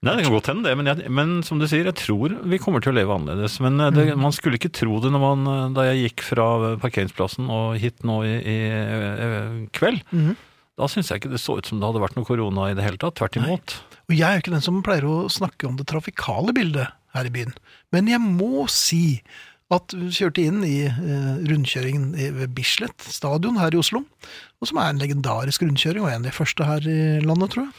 S3: Nei, Det kan godt hende, det. Men, jeg, men som du sier, jeg tror vi kommer til å leve annerledes. Men eh, det,
S2: Mm.
S3: man skulle ikke tro det når man, eh, da jeg gikk fra eh, parkeringsplassen og hit nå i, i eh, kveld. Da syns jeg ikke det så ut som det hadde vært noe korona i det hele tatt. Tvert imot.
S2: Og jeg er jo ikke den som pleier å snakke om det trafikale bildet her i byen. Men jeg må si at vi kjørte inn i eh, rundkjøringen i, ved Bislett stadion her i Oslo, og som er en legendarisk rundkjøring, og en av de første her i landet, tror jeg.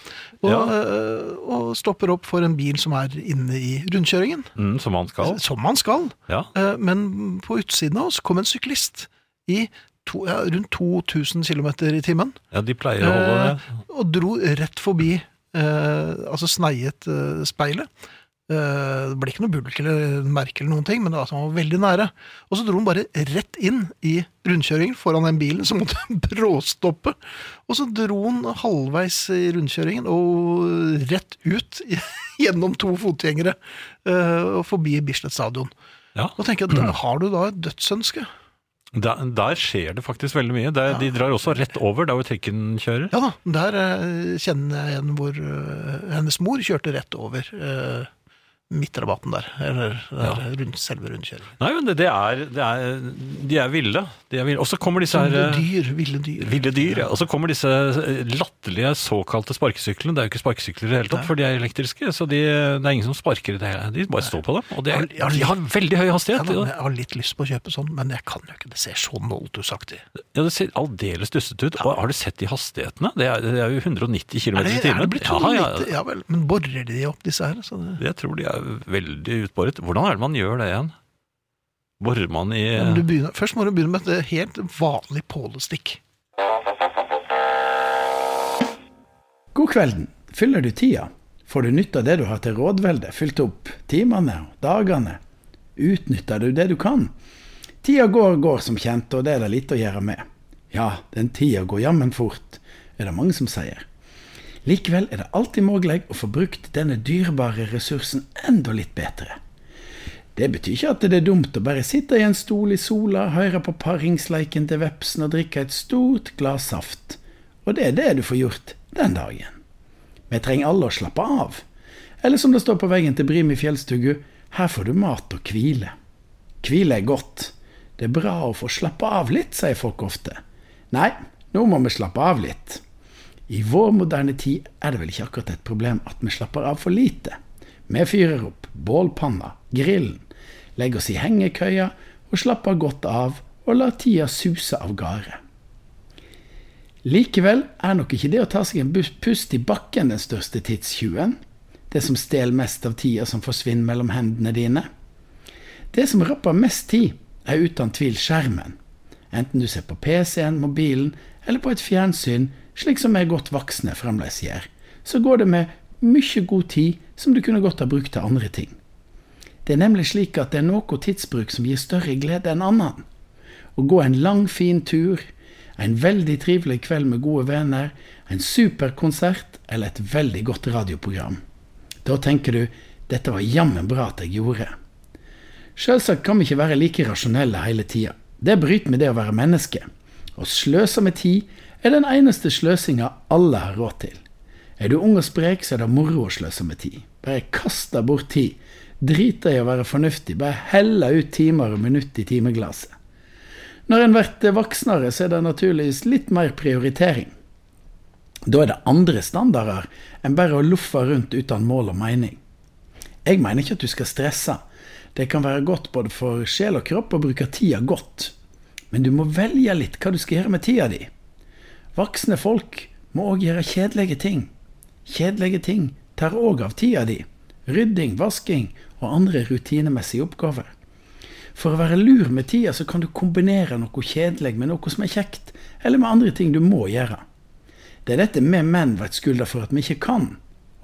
S2: Og,
S3: Ja.
S2: eh, og stopper opp for en bil som er inne i rundkjøringen,
S3: Mm, som man skal.
S2: som man skal.
S3: Ja.
S2: Eh, Men på utsiden av oss kom en syklist i to, ja, rundt 2000 km i timen
S3: ja, de pleier å holde det.
S2: og dro rett forbi, eh, altså sneiet eh, speilet, Eh, Det ble ikke noe bulk eller merke, eller noen ting, men det var at han var veldig nære. Og så dro han bare rett inn i rundkjøringen foran den bilen, som måtte bråstoppe. Og så dro han halvveis i rundkjøringen og rett ut gjennom to fotgjengere eh, og forbi Bislett stadion.
S3: Ja.
S2: Da tenker jeg, da har du da et dødsønske.
S3: Der, der skjer det faktisk veldig mye. Der, De drar også rett over der hvor trikken kjører.
S2: Ja da, der eh, kjenner jeg igjen hvor eh, hennes mor kjørte rett over eh, midtrabatten der, eller der, eh, rundt, selve rundkjøringen.
S3: Nei, men det, det, er, det er De er ville. De er ville. Og så kommer disse
S2: Ville
S3: her eh,
S2: Sånn dyr, ville dyr.
S3: Ville dyr, ja. Og så kommer disse eh, latterlige såkalte sparkesyklene. Det er jo ikke sparkesykler i det hele tatt, for de er elektriske. Så de, eh, det er ingen som sparker i det hele. De bare står på dem. Og de, er,
S2: Ja, ja.
S3: de har veldig høy
S2: Ja,
S3: hastighet.
S2: da, men
S3: Ja,
S2: jeg har litt lyst på å kjøpe sånn, men jeg kan jo ikke. Det ser så noldtusaktig ut.
S3: det ser aldeles dustete ut. Og har du sett de hastighetene? Det er, det er jo 190 km
S2: Er
S3: i
S2: det, er
S3: timen.
S2: det blitt
S3: Ja,
S2: 290? Ja,
S3: ja, ja.
S2: vel, men borer de opp disse her? Så det,
S3: Jeg tror de er veldig utbåret. Hvordan er det man gjør det igjen? Borer man i
S2: Men du begynner, først må du begynne med et helt vanlig pålestikk.
S4: God kvelden. Fyller du tida? Får du nytt av det du har til rådvelde? Fylt opp timene og dagene? Utnytter du det du kan? Tida går og går som kjent, og det er det lite å gjøre med. Ja, den tida går jammen fort, er det mange som sier. Likevel er det alltid mulig å få brukt denne dyrebare ressursen enda litt bedre. Det betyr ikke at det er dumt å bare sitte i en stol i sola, høre på paringsleiken til vepsen og drikke et stort glass saft. Og det er det du får gjort den dagen. Vi trenger alle å slappe av. Eller som det står på veggen til Brim i fjellstugu, her får du mat og hvile. Hvile er godt. Det er bra å få slappe av litt, sier folk ofte. Nei, nå må vi slappe av litt. I vår moderne tid er det vel ikke akkurat et problem at vi slapper av for lite. Vi fyrer opp bålpanna, grillen, legger oss i hengekøya og slapper godt av og lar tida suse av gårde. Likevel er nok ikke det å ta seg en bus- pust i bakken den største tidstyven. Det som stjeler mest av tida som forsvinner mellom hendene dine. Det som rapper mest tid, er uten tvil skjermen. Enten du ser på PC-en, mobilen eller på et fjernsyn, slik som vi godt voksne fremdeles gjør, så går det med mye god tid som du kunne godt ha brukt til andre ting. Det er nemlig slik at det er noe tidsbruk som gir større glede enn annen. Å gå en lang, fin tur, en veldig trivelig kveld med gode venner, en superkonsert eller et veldig godt radioprogram. Da tenker du 'dette var jammen bra at jeg gjorde'. Selvsagt kan vi ikke være like rasjonelle hele tida. Det bryter med det å være menneske. Å sløse med tid er den eneste sløsinga alle har råd til. Er du ung og sprek, så er det moro å sløse med tid. Bare kast deg bort tid. Drit deg i å være fornuftig, bare helle ut timer og minutt i timeglasset. Når en blir voksnere, så er det naturligvis litt mer prioritering. Da er det andre standarder enn bare å loffe rundt uten mål og mening. Jeg mener ikke at du skal stresse. Det kan være godt både for sjel og kropp å bruke tida godt. Men du må velge litt hva du skal gjøre med tida di. Voksne folk må òg gjøre kjedelige ting. Kjedelige ting tar òg av tida di. Rydding, vasking og andre rutinemessige oppgaver. For å være lur med tida, så kan du kombinere noe kjedelig med noe som er kjekt, eller med andre ting du må gjøre. Det er dette vi menn blir skylda for at vi ikke kan,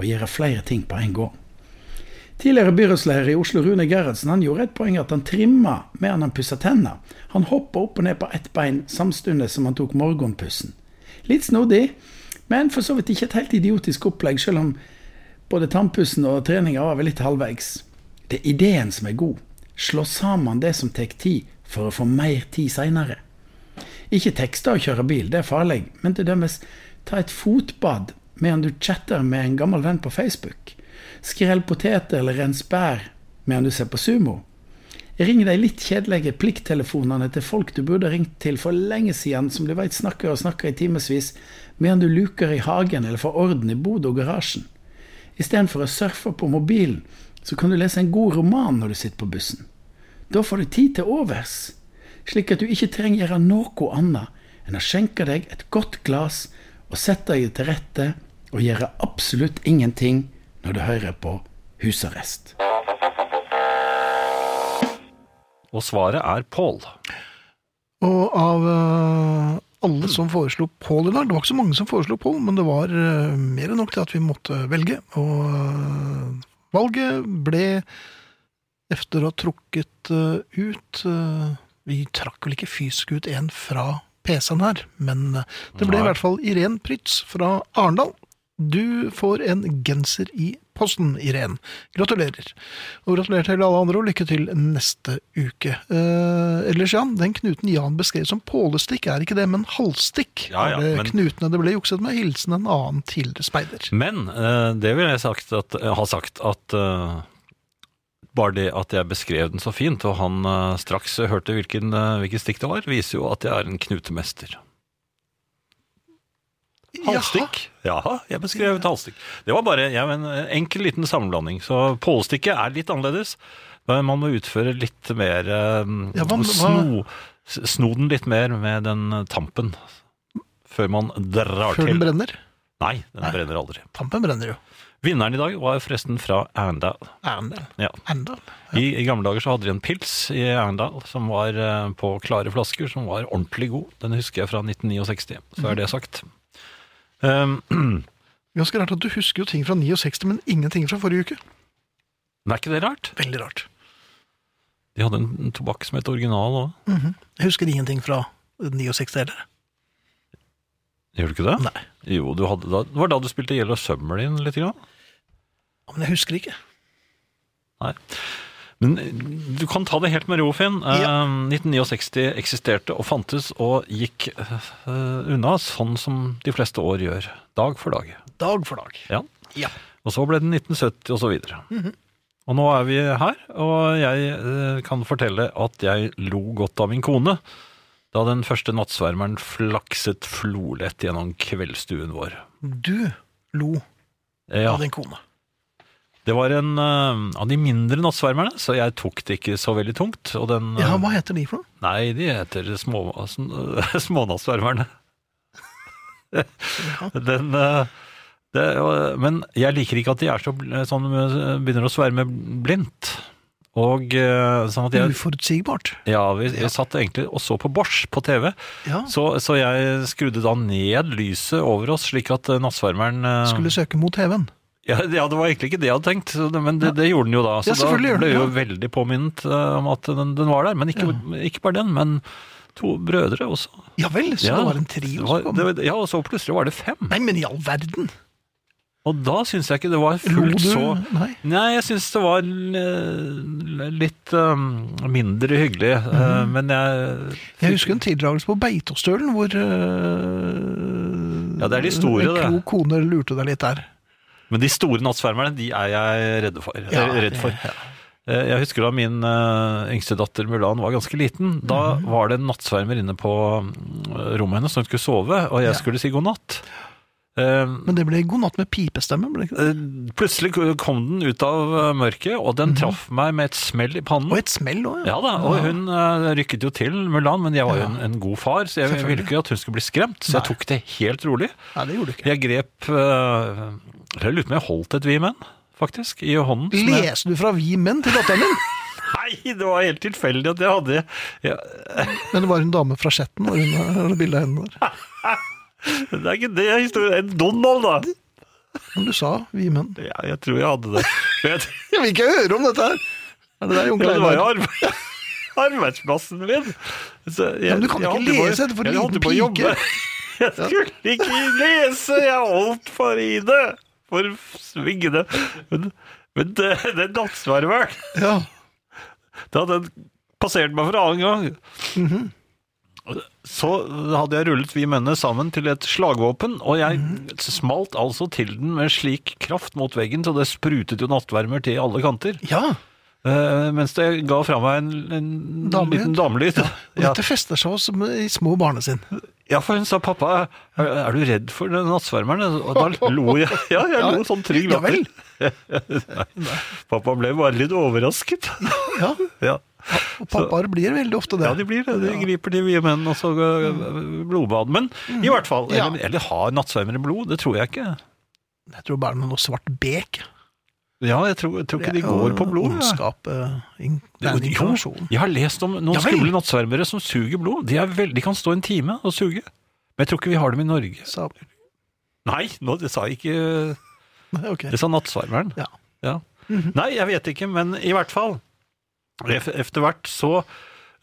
S4: å gjøre flere ting på en gang. Tidligere byrådsleder i Oslo, Rune Gerhardsen, han gjorde et poeng at han trimma medan han pussa tenna. Han hoppa opp og ned på ett bein samtidig som han tok morgenpussen. Litt snodig, men for så vidt ikke et helt idiotisk opplegg, sjøl om både tannpussen og treninga var vel litt halvveis. Det er ideen som er god. Slå sammen det som tar tid, for å få mer tid seinere. Ikke tekster å kjøre bil, det er farlig, men til dømes ta et fotbad medan du chatter med en gammel venn på Facebook. Skrell poteter eller rens bær medan du ser på sumo. Ring de litt kjedelige plikttelefonene til folk du burde ringt til for lenge siden, som du veit snakker og snakker i timevis, medan du luker i hagen eller får orden i bodet og garasjen. Istedenfor å surfe på mobilen, så kan du lese en god roman når du sitter på bussen. Da får du tid til overs, slik at du ikke trenger gjøre noe annet enn å skjenke deg et godt glass og sette deg til rette og gjøre absolutt ingenting når du hører på husarrest.
S3: Og svaret er Pål.
S2: Og av eh, alle som foreslo Pål i dag, det var ikke så mange som foreslo Pål, men det var eh, mer enn nok til at vi måtte velge. Og eh, Valget ble efter å ha trukket eh, ut eh, Vi trakk vel ikke fysisk ut en fra PC-en her, men eh, det ble
S3: Nei.
S2: i hvert fall Irén Prytz fra Arendal. Du får en genser i posten, Irén. Gratulerer. Og gratulerer til alle andre, og lykke til neste uke. Eh, ellers, Jan, den knuten Jan beskrev som pålestikk, er ikke det, men halsstikk.
S3: Ja, ja,
S2: er det
S3: men-
S2: knutene det ble jukset med. Hilsen en annen tidligere speider.
S3: Men eh, det vil jeg sagt at, ha sagt at eh, bare det at jeg beskrev den så fint, og han eh, straks hørte hvilken, eh, hvilket stikk det var, viser jo at jeg er en knutemester. Halvstikk? Jaha, jeg beskrev et halvstikk. Det var bare ja, men, en enkel liten sammenblanding. Så pålestikket er litt annerledes. men Man må utføre litt mer eh,
S2: Ja, hva-
S3: sno, s- sno den litt mer med den eh, tampen. Før man
S2: Ja,
S3: drar
S2: før den
S3: til.
S2: brenner.
S3: Nei, den
S2: Nei.
S3: brenner aldri.
S2: Tampen brenner jo.
S3: Vinneren i dag var forresten fra Arendal.
S2: Erndal.
S3: Ja.
S2: Erndal.
S3: I, I gamle dager så hadde de en pils i Arendal som var eh, på klare flasker, som var ordentlig god. Den husker jeg fra 1969, så
S2: Mhm.
S3: er det sagt. Um,
S2: Ganske rart at du husker jo ting fra 69, men ingenting fra forrige uke.
S3: men er ikke det rart?
S2: Veldig rart.
S3: De hadde en en tobakk som het original òg.
S2: Jeg husker ingenting fra 69 heller.
S3: Gjør du ikke det?
S2: Nei.
S3: Jo, du hadde da, det var da du spilte Yellow Summer din litt. Grann.
S2: Ja, Men jeg husker ikke.
S3: Nei. Men eh, du kan ta det helt med ro, Finn. Eh,
S2: Ja.
S3: 1969 eksisterte og fantes og gikk eh, unna sånn som de fleste år gjør. Dag for dag.
S2: Dag for dag.
S3: Ja.
S2: Ja.
S3: Og så ble det 1970 og så videre.
S2: Mhm.
S3: Og nå er vi her, og jeg eh, kan fortelle at jeg lo godt av min kone da den første nattsvermeren flakset flolett gjennom kveldsstuen vår.
S2: Du lo
S3: Ja,
S2: av din kone.
S3: det var en eh, av de mindre nattsvermerne, så jeg tok det ikke så veldig tungt. Og den, eh,
S2: Ja, Hva heter de for noe?
S3: Nei, de heter små, sn- smånattsvermerne. Den eh, det, eh, Men jeg liker ikke at de er så bl- sånn eh, begynner å sverme blindt. Og eh, sånn at jeg
S2: Uforutsigbart.
S3: Ja, vi, vi satt egentlig og så på Bosch på TV,
S2: Ja.
S3: så, så jeg skrudde da ned lyset over oss, slik at eh, nattsvermeren eh,
S2: Skulle søke mot TV-en.
S3: ja, ja, det var egentlig ikke det jeg hadde tenkt, så det- men det, det gjorde den jo da. Så
S2: Ja, selvfølgelig
S3: da
S2: gjorde
S3: ble
S2: den
S3: jo veldig påminnet eh, om at den, den var der. Men ikke, ikke bare den, men to brødre også.
S2: Ja vel, så
S3: Ja,
S2: det var en
S3: Det
S2: trio
S3: var,
S2: som kom.
S3: det, var- ja, og så plutselig var det fem.
S2: Nei, men i all verden!
S3: Og da syns jeg ikke det var
S2: Lo
S3: fullt
S2: du?
S3: så
S2: Nei.
S3: Nei, jeg syns det var eh, litt eh, mindre hyggelig, eh,
S2: Mhm.
S3: men jeg
S2: Jeg husker en tildragelse på Beitostølen hvor øh,
S3: Ja, det er de store,
S2: En
S3: det.
S2: klok kone lurte deg litt der.
S3: Men de store nattsvermerne, de er jeg redde for,
S2: Ja,
S3: eh, redd for. Eh, Jeg husker da min eh, yngste datter Mulan var ganske liten.
S2: Mhm.
S3: Da var det en nattsvermer inne på mm, rommet hennes når hun skulle sove, og jeg
S2: Ja.
S3: skulle si god natt. Eh,
S2: Men det ble god natt med pipestemme, ble det ikke det?
S3: eh, Plutselig kom den ut av eh, mørket, og
S2: Mhm.
S3: den traff meg med et smell i pannen.
S2: Og et smell òg,
S3: Ja da, og hun eh, rykket jo til Mulan, men jeg var jo
S2: Ja.
S3: en, en god far, så jeg ville
S2: Selvfølgelig.
S3: ikke at hun skulle bli skremt, så jeg
S2: Nei.
S3: tok det helt rolig.
S2: Nei, det gjorde du ikke.
S3: Jeg grep eh, Jeg lurer på om jeg holdt et vimen, faktisk, i hånden. som jeg-
S2: Leste du fra Vi menn til datteren din?
S3: Nei, det var helt tilfeldig at jeg hadde ja,
S2: Men det var en dame fra Skjetten, og hun har bilde av henne der.
S3: Det er ikke det historien En Donald, da!
S2: Men du sa Vi menn.
S3: Ja, jeg tror jeg hadde det. Men jeg-
S2: Jeg vil ikke høre om dette her! Er det der, Jon
S3: Ja, det var jo
S2: Kleinar?
S3: arbe arbeidsplassen min! Så jeg,
S2: Ja, men du kan ikke
S3: holdt på-
S2: lese det for en
S3: jeg holdt
S2: liten
S3: på å
S2: pike.
S3: jobbe. Jeg skulle ikke lese! Jeg holdt for i det! For svingende. Men, men det, det nattsvermeren
S2: Ja.
S3: Da den passerte meg for annen gang.
S2: Mhm.
S3: Så hadde jeg rullet vi mennene sammen til et slagvåpen, og jeg
S2: Mhm.
S3: smalt altså til den med slik kraft mot veggen, så det sprutet jo nattvermer til alle kanter.
S2: ja.
S3: Eh, mens det ga fra meg en, en
S2: Damelyd.
S3: liten damelyd.
S2: Og
S3: Ja.
S2: dette fester seg hos i små barne sin.
S3: ja, for hun sa 'pappa, er, er du redd for den nattsvermeren?' Og da lo jeg. Ja, jeg lo sånn trygg
S2: Ja
S3: latter.
S2: vel.
S3: Pappa ble bare litt overrasket.
S2: Ja.
S3: ja.
S2: Og pappaer blir veldig ofte det.
S3: Ja, de blir det. De griper til mye menn og så øh, blodbad. Men i hvert fall,
S2: Ja.
S3: eller, eller har nattsvermere blod? Det tror jeg ikke.
S2: Jeg tror bare det er noe svart bek.
S3: Ja, jeg tror, jeg tror ikke de
S2: Det er jo
S3: går på blod. jeg.
S2: Ondskap. eh, in- Det er en
S3: Jo,
S2: informasjon.
S3: Jeg har lest om noen
S2: Ja vel.
S3: skumle nattsvermere som suger blod. De, er vel- de kan stå en time og suge. Men jeg tror ikke vi har dem i Norge.
S2: Sa-
S3: Nei, nå, det sa jeg ikke
S2: Nei, ok.
S3: Det sa nattsvermeren.
S2: Ja.
S3: Ja. Nei, jeg vet ikke, men i hvert fall. ef- Efter hvert så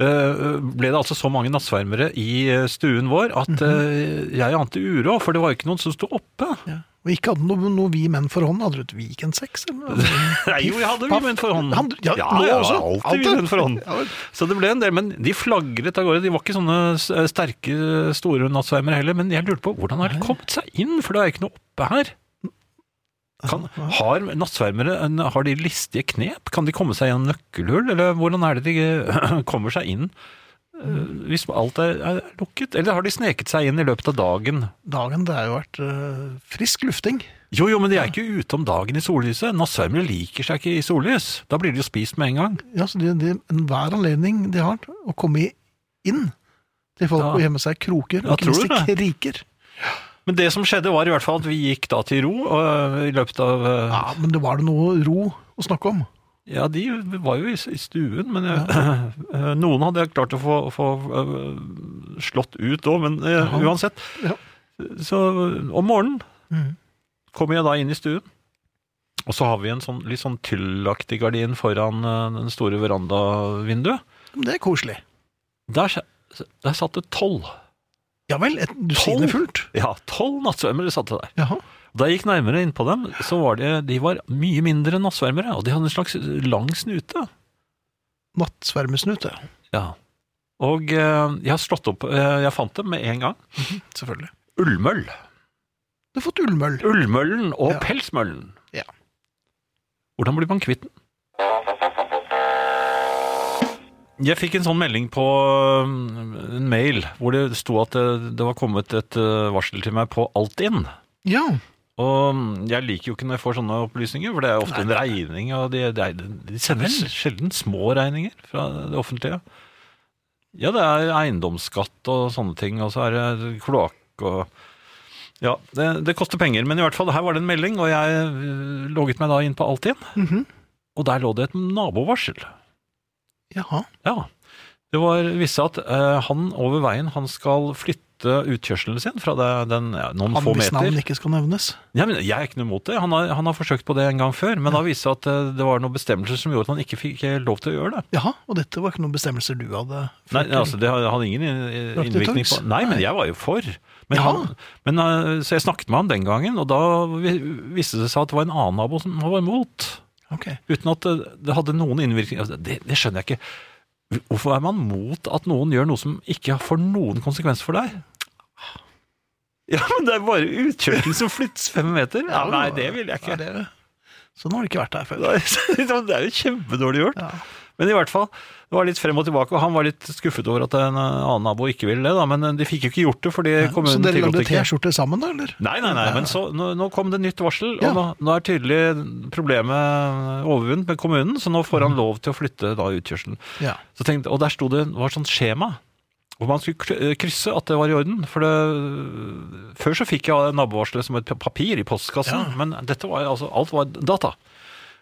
S3: eh, ble det altså så mange nattsvermere i eh, stuen vår at eh, jeg ante uråd, for det var ikke noen som sto oppe.
S2: Ja. Og ikke hadde noe, noe vi menn for hånd. Hadde du et weekendsex? eller noe?
S3: Nei, jo, jeg hadde
S2: Paff.
S3: vinvenn for hånd.
S2: Han- ja, nå også.
S3: alltid
S2: Alltid.
S3: vinvenn for hånd.
S2: Ja, vel.
S3: Så det ble en del, men de flagret av gårde. De var ikke sånne s- eh, sterke, store nattsvermere heller, men jeg lurte på hvordan har de kommet seg inn, for det er ikke noe oppe her. Kan, har nattsvermere en- har de listige knep? Kan de komme seg gjennom nøkkelhull, eller hvordan er det de kommer seg inn? eh, Hvis alt er, er lukket? Eller har de sneket seg inn i løpet av dagen?
S2: Dagen det har jo vært eh, frisk lufting.
S3: Jo, jo, men de er ikke ute om dagen i sollyset. Nattsvermere liker seg ikke i sollys. Da blir de jo spist med en gang.
S2: Ja, så de, de, Enhver anledning de har til å komme i- inn til folk
S3: Ja.
S2: og gjemme seg i kroker
S3: Ja,
S2: og
S3: tror du
S2: kniste kriker.
S3: Men det som skjedde var i hvert fall at vi gikk da til ro øh, i løpet av øh,
S2: Ja, men det var det noe ro å snakke om.
S3: Ja, de var jo i s- i stuen, men jeg, øh, noen hadde jeg klart å få, få øh, slått ut òg, men øh,
S2: Jaha.
S3: uansett.
S2: Ja.
S3: Så øh, om morgenen
S2: Mhm.
S3: kommer jeg da inn i stuen, og så har vi en sånn, litt sånn tyllaktig gardin foran øh, den store verandavinduet.
S2: Men Det er koselig.
S3: Der, s- der satt det tolv.
S2: Ja vel, et, du sier det fullt.
S3: Ja, tolv nattsvømmere satt det der.
S2: Jaha.
S3: Da jeg gikk nærmere innpå dem, så var de, de var mye mindre nattsvermere, og de hadde en slags lang snute.
S2: Nattsvermesnut, ja.
S3: Ja. Og eh, jeg har slått opp, eh, jeg fant dem med en gang.
S2: Selvfølgelig.
S3: Ullmøll.
S2: Du har fått ullmøll.
S3: Ullmøllen og
S2: Ja.
S3: pelsmøllen.
S2: Ja.
S3: Hvordan blir man kvitt den? Jeg fikk en sånn melding på um, en mail hvor det sto at eh, det, det var kommet et eh, varsel til meg på Altinn.
S2: Ja.
S3: Og mm, jeg liker jo ikke når jeg får sånne opplysninger, for det er ofte en regning, og de, de, de sender s- sjelden små regninger fra det offentlige. Ja, det er eiendomsskatt og sånne ting, og så er det kloakk og Ja, det, det koster penger, men i hvert fall, her var det en melding, og jeg øh, logget meg da inn på Altinn,
S2: Mhm.
S3: og der lå det et nabovarsel.
S2: Jaha.
S3: Ja. Det var visse at eh, han over veien, han skal flytte utkjørselen sin fra det, den ja, noen
S2: Han
S3: få
S2: hvis
S3: meter.
S2: navn ikke skal nevnes.
S3: Ja, men jeg er ikke noe imot det. Han har, han har forsøkt på det en gang før, men da viste det seg at eh, det var noen bestemmelser som gjorde at han ikke fikk eh, lov til å gjøre det.
S2: Jaha, og dette var ikke noen bestemmelser du hadde?
S3: Nei,
S2: ført til.
S3: altså, Det hadde ingen eh,
S2: Rakk det
S3: innvirkning på
S2: tungt?
S3: Nei, men jeg var jo for. Men
S2: Ja.
S3: han, men, eh, så jeg snakket med han den gangen, og da vi- viste det seg at det var en annen nabo som var imot.
S2: Ok.
S3: Uten at eh, det hadde noen innvirkning. Altså, Det, det skjønner jeg ikke. Hvorfor er man mot at noen gjør noe som ikke får noen konsekvens for deg? Ja, men det er bare utkjørselen som flyttes fem meter. Ja, nei, det vil jeg
S2: Ja,
S3: ikke.
S2: det, sånn har det ikke vært her før.
S3: Nei, Det er jo kjempedårlig gjort.
S2: Ja.
S3: Men i hvert fall, det var litt frem og tilbake, og han var litt skuffet over at en eh, annen nabo ikke ville det, da, men eh, de fikk jo ikke gjort det, fordi
S2: Så
S3: kommunen
S2: dere
S3: tillot
S2: lagde
S3: ikke.
S2: T-skjorter sammen, da? eller?
S3: Nei, nei, nei, men så, nå, nå kom det nytt varsel,
S2: Ja.
S3: og nå, nå er tydelig problemet overvunnet med kommunen, så nå
S2: Mm.
S3: får han lov til å flytte da utkjørselen.
S2: Ja.
S3: Så tenkte, og der sto det, det var sånn skjema, hvor man skulle kry- eh, krysse at det var i orden. For det, før så fikk jeg nabovarselet som et pa- papir i postkassen, men dette var altså, alt var data.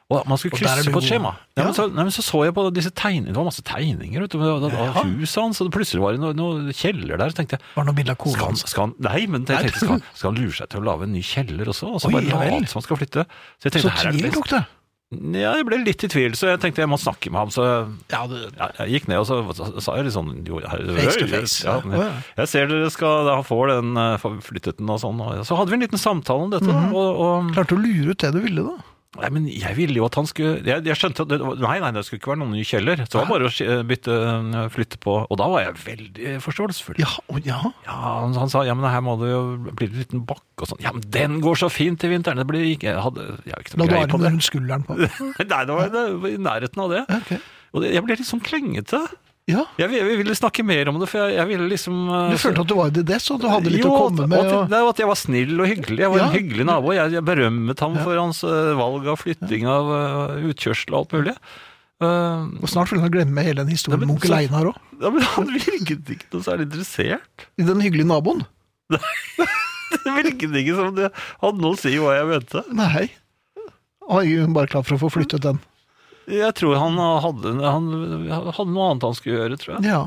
S3: Og man skulle
S2: Og der er
S3: krysse
S2: du
S3: på et
S2: god.
S3: skjema. Ja,
S2: Ja.
S3: men så, nei, men så så jeg på disse tegningene, det var masse tegninger vet du, av av huset hans, og det plutselig var det noe, noe kjeller der, så tenkte jeg,
S2: Var det noe bilde av
S3: skal
S2: kona
S3: han,
S2: hans?
S3: skal han, nei, men jeg tenkte, skal, han- skal han lure seg til å lage en ny kjeller også? Og så
S2: Oi,
S3: bare
S2: ja vel.
S3: late som han skal flytte. Så jeg
S2: Så
S3: tenkte, her er
S2: tvil
S3: det best.
S2: tok det.
S3: Ja, jeg ble litt i tvil, så jeg tenkte jeg må snakke med ham, så
S2: Ja, det,
S3: ja, jeg gikk ned og så så sa jeg litt sånn jo, her,
S2: Face to face,
S3: Ja,
S2: ja. Å, ja.
S3: Jeg ser dere skal da få den eh, få flyttet den og sånn. Og så hadde vi en liten samtale om dette. da,
S2: Mhm.
S3: og, og,
S2: klarte å lure ut det du ville, da.
S3: nei, men jeg ville jo at han skulle jeg, jeg skjønte at det, var- Nei, nei, det skulle ikke være noen ny kjeller. Så det var bare å sk- bytte, eh, flytte på. Og da var jeg veldig forståelsesfull.
S2: Ja, å, ja.
S3: Ja, han, han sa ja, men her må det jo bli en liten bakke og sånn. Ja, men den går så fint i vinteren! Det blir ikke Jeg hadde jeg har ikke
S2: La
S3: noe
S2: du
S3: greie på
S2: armen
S3: det.
S2: rundt skulderen på.
S3: Nei, det var, det var i nærheten av det.
S2: Ok.
S3: Og det, jeg ble litt sånn klengete.
S2: Ja.
S3: Jeg, vil- jeg ville snakke mer om det, for jeg, jeg ville liksom eh,
S2: Du følte at du var i det, så du hadde litt
S3: jo,
S2: å komme
S3: at-
S2: med.
S3: At,
S2: Og,
S3: nei, at jeg var snill og hyggelig. Jeg var en
S2: Ja.
S3: hyggelig nabo. Jeg, jeg berømmet ham for hans eh, valg av flytting av eh, utkjørsel og alt mulig. Eh,
S2: og snart ville han glemme hele den historien
S3: Nei,
S2: med
S3: men
S2: onkel
S3: så-
S2: Einar òg.
S3: ja, men han virket ikke noe særlig interessert.
S2: Den hyggelige naboen.
S3: Det virket ikke som det hadde noe å si hva jeg mente.
S2: Nei. Han er jo bare klar for å få flyttet den.
S3: Jeg tror han hadde, han hadde noe annet han skulle gjøre, tror jeg.
S2: Ja.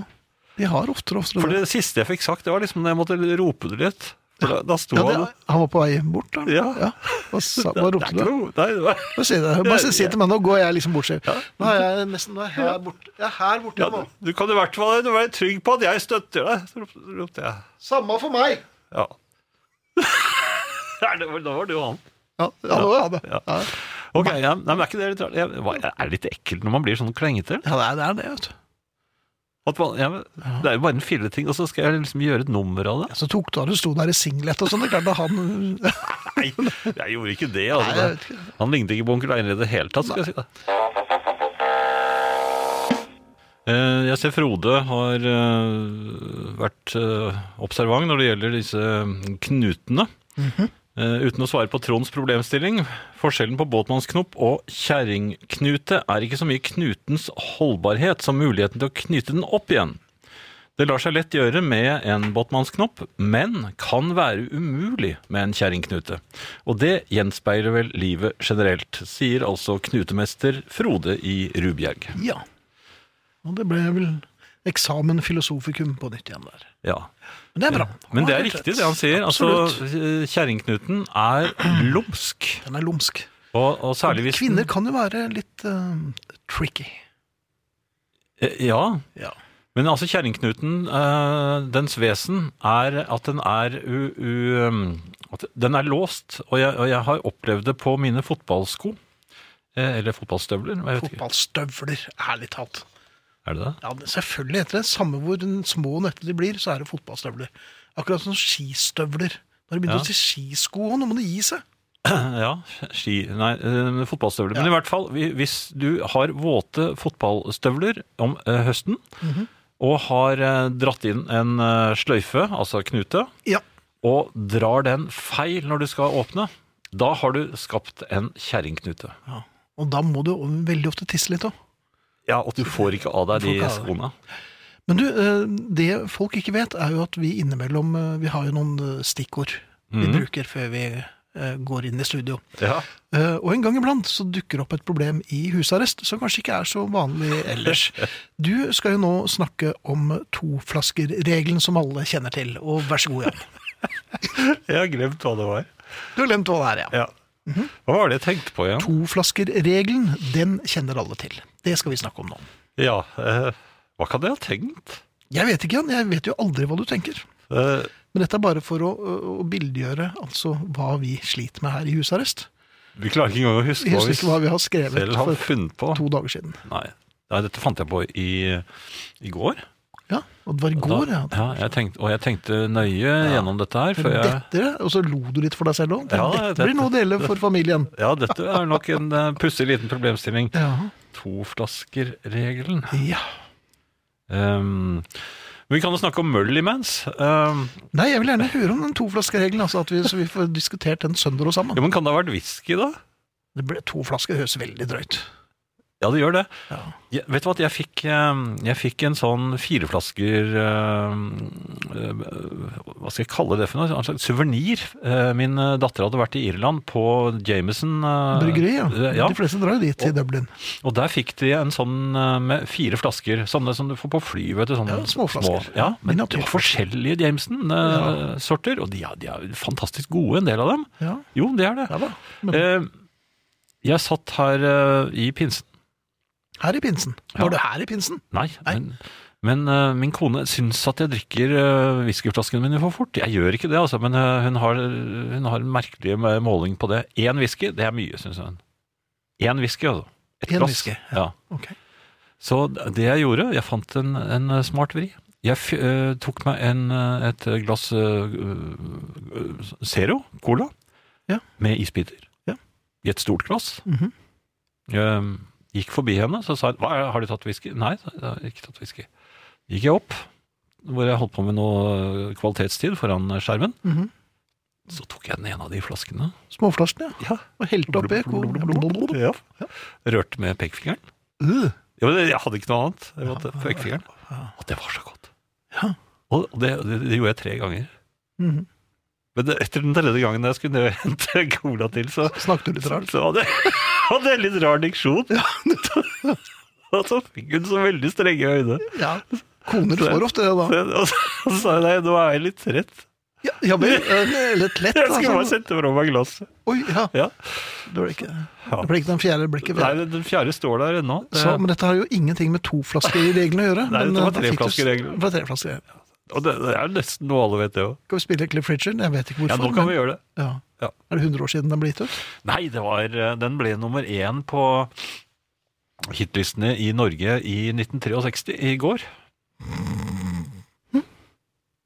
S2: De har oftere og oftere
S3: For det siste jeg fikk sagt, det var liksom da jeg måtte rope det litt. Da, da sto
S2: Ja, det,
S3: han
S2: han var på vei bort, da?
S3: Ja.
S2: Hva, sa,
S3: Det
S2: hva
S3: er
S2: ropte
S3: ikke
S2: du?
S3: noe- Nei, det var-
S2: Hva sier du? Bare si si til meg, nå går jeg liksom bort, sier du. Nå er jeg nesten nå er jeg her borte. Jeg er her borte
S3: ja,
S2: nå.
S3: du- du kan i hvert fall være trygg på at jeg støtter deg, så rop- ropte jeg.
S2: Samme for meg!
S3: Ja. Nei, det var- Da var det jo han.
S2: Ja, ja, det var det.
S3: Ja.
S2: Ja.
S3: Ok, ja, nei, men er ikke det litt rart? Jeg, hva- er det litt ekkelt når man blir sånn klengete?
S2: ja, det er det, er det vet du.
S3: At man, ja, men det er jo bare en filleting, og så skal jeg liksom gjøre et nummer av det?
S2: Så tok du av du sto der i singlet og sånn. Det er klart at han
S3: Nei, jeg gjorde ikke det.
S2: Nei,
S3: Altså.
S2: jeg vet ikke.
S3: Han lignet ikke på onkel Einar i det hele tatt, skal jeg si det. Eh, Jeg ser Frode har eh, vært eh, observant når det gjelder disse knutene. Eh, Uten å svare på Tronds problemstilling, forskjellen på båtmannsknopp og kjerringknute er ikke så mye knutens holdbarhet som muligheten til å knyte den opp igjen. Det lar seg lett gjøre med en båtmannsknopp, men kan være umulig med en kjerringknute. Og det gjenspeiler vel livet generelt, sier altså knutemester Frode i Rubjerg.
S2: Ja. Og det ble vel eksamen filosofikum på nytt igjen der.
S3: Ja.
S2: Men det er bra.
S3: Men
S2: Han
S3: det er
S2: har helt
S3: riktig
S2: rett.
S3: det han sier. Altså,
S2: Absolutt.
S3: Kjerringknuten er lumsk,
S2: Den er lumsk.
S3: og, og særlig hvis
S2: Kvinner kan jo være litt eh, tricky.
S3: Eh, Ja,
S2: Ja.
S3: Men altså kjerringknuten, eh, dens vesen er at den er u, u, um, at den er låst, og jeg, og jeg har opplevd det på mine fotballsko. Eh, eller fotballstøvler, jeg vet ikke.
S2: Fotballstøvler, ærlig talt.
S3: Er det det?
S2: Ja, men selvfølgelig heter det. Samme hvor den små nøtter de blir, så er det fotballstøvler. Akkurat som skistøvler. Når de begynner
S3: Ja.
S2: å si skisko, nå må de gi seg.
S3: Ja, ski, nei, eh, fotballstøvler. Men
S2: Ja.
S3: i hvert fall, hvi- hvis du har våte fotballstøvler om eh, høsten, og har eh, dratt inn en eh, sløyfe, altså knute,
S2: Ja.
S3: og drar den feil når du skal åpne, da har du skapt en kjerringknute.
S2: Og da må du veldig ofte tisse litt òg.
S3: Ja, og du får ikke av deg
S2: Du får
S3: de
S2: ikke av deg.
S3: skoene.
S2: Men du, eh, det folk ikke vet, er jo at vi innimellom eh, Vi har jo noen eh, stikkord vi
S3: Mhm.
S2: bruker før vi eh, går inn i studio.
S3: Ja.
S2: Eh, Og en gang iblant så dukker det opp et problem i husarrest som kanskje ikke er så vanlig ellers. Du skal jo nå snakke om toflaskerregelen som alle kjenner til. Og vær så god, Jan.
S3: Jeg har glemt hva det var.
S2: Du har glemt hva det er, ja. Mhm.
S3: Hva var det jeg tenkte på igjen?
S2: Toflaskerregelen, den kjenner alle til. Det skal vi snakke om nå.
S3: Ja, eh, hva kan jeg ha tenkt?
S2: Jeg vet ikke, Jan. Jeg vet jo aldri hva du tenker.
S3: Eh,
S2: Men dette er bare for å, å- å bildegjøre altså, hva vi sliter med her i husarrest.
S3: vi klarer ikke engang å huske
S2: Jeg
S3: hva
S2: husker
S3: vi
S2: ikke hva vi har skrevet
S3: selv har
S2: for
S3: funnet på.
S2: to dager siden.
S3: Nei. Nei, dette fant jeg på i, i går.
S2: Ja, Og det var i
S3: Da-
S2: går, ja.
S3: ja jeg tenkte, og jeg tenkte nøye gjennom dette her. Før jeg,
S2: Dette, og så lo du litt for deg selv òg.
S3: Ja,
S2: Dette
S3: dette-
S2: blir noe å dele for familien.
S3: ja, dette er nok en eh, pussig liten problemstilling.
S2: Ja.
S3: Toflaskerregelen.
S2: ja.
S3: Um, vi kan jo snakke om møll imens. Um,
S2: Nei, jeg vil gjerne høre om den toflaskeregelen, altså, at vi, så vi får diskutert den søndag og sammen.
S3: jo, men kan det ha vært whisky, da?
S2: Det ble To flasker høres veldig drøyt.
S3: Ja, det gjør det.
S2: Ja.
S3: Jeg, vet du hva, at jeg fikk, eh, jeg fikk en sånn fireflasker eh, eh, Hva skal jeg kalle det for noe? En slags suvenir. Eh, Min eh, datter hadde vært i Irland på Jameson eh,
S2: Bryggeri, ja.
S3: eh, ja.
S2: De fleste drar jo dit, til Dublin.
S3: Og der fikk de en sånn eh, med fire flasker. Sånne som du får på fly, vet du. Sånne
S2: Ja, småflasker.
S3: små- ja, men det
S2: Miniatyrflasker.
S3: var forskjellige Jameson-sorter, og de, er- de er fantastisk gode, en del av dem.
S2: Ja,
S3: Jo, det er det.
S2: ja da. Men
S3: Eh, Jeg satt her eh, i pinsen.
S2: her i pinsen.
S3: Ja.
S2: Var du her i pinsen?
S3: Nei,
S2: Nei.
S3: men, men eh, min kone syns at jeg drikker eh, whiskyflaskene mine for fort. Jeg gjør ikke det, altså, men eh, hun, har, hun har en merkelig eh, måling på det. Én whisky, det er mye, syns hun. Én whisky, altså. Et
S2: En
S3: glass.
S2: whisky,
S3: ja.
S2: Ok.
S3: Så det jeg gjorde, jeg fant en, en eh, smart vri. Jeg f eh, tok meg en, eh, et glass eh, eh, Zero Cola
S2: Ja.
S3: med isbiter
S2: Ja.
S3: i et stort glass.
S2: Mhm.
S3: Jeg Ehm, gikk forbi henne, så sa hun Hva, er det, 'Har du tatt whisky?' Nei, jeg har ikke tatt whisky. Gikk jeg opp, hvor jeg holdt på med noe kvalitetstid foran skjermen.
S2: Mhm.
S3: Så tok jeg den ene av de flaskene.
S2: Småflaskene, ja.
S3: Ja.
S2: Og helte oppi.
S3: Ja. Rørte med pekefingeren.
S2: Øh,
S3: Ja, men jeg hadde ikke noe annet. Jeg måtte pekefingeren. Og det var så godt.
S2: Ja.
S3: Og det, det, det gjorde jeg tre ganger.
S2: mhm.
S3: Men det, etter den tredje gangen jeg skulle ned og hente cola til, så,
S2: Snakket du litt
S3: så,
S2: rart?
S3: så hadde jeg hadde jeg litt rar diksjon. og så fikk hun så veldig strenge øyne.
S2: Ja. Koner får ofte det, da.
S3: Og så, og så sa jeg nei, nå er jeg litt trett.
S2: Ja, ja vel, eh, litt lett.
S3: Jeg skulle bare
S2: Altså.
S3: sette fra meg glasset.
S2: Oi, ja.
S3: Ja.
S2: Det ble ikke, det ble ikke den fjerde blikket.
S3: Nei, den fjerde står der ennå. Det-
S2: Så, men dette har jo ingenting med toflaskereglene å gjøre.
S3: Nei,
S2: men,
S3: dette var
S2: eh, da fikk du-
S3: treflaskereglene.
S2: Det var treflaskereglene.
S3: Og det, det er nesten noe alle vet, det òg.
S2: Skal vi spille Cliff Richard? Jeg vet ikke
S3: Ja,
S2: hvorfor.
S3: nå kan
S2: men-
S3: vi gjøre det.
S2: Ja.
S3: Ja.
S2: Er det 100 år siden den ble gitt ut?
S3: Nei, det var, eh, den ble nummer én på hitlistene i Norge i 1963 i går.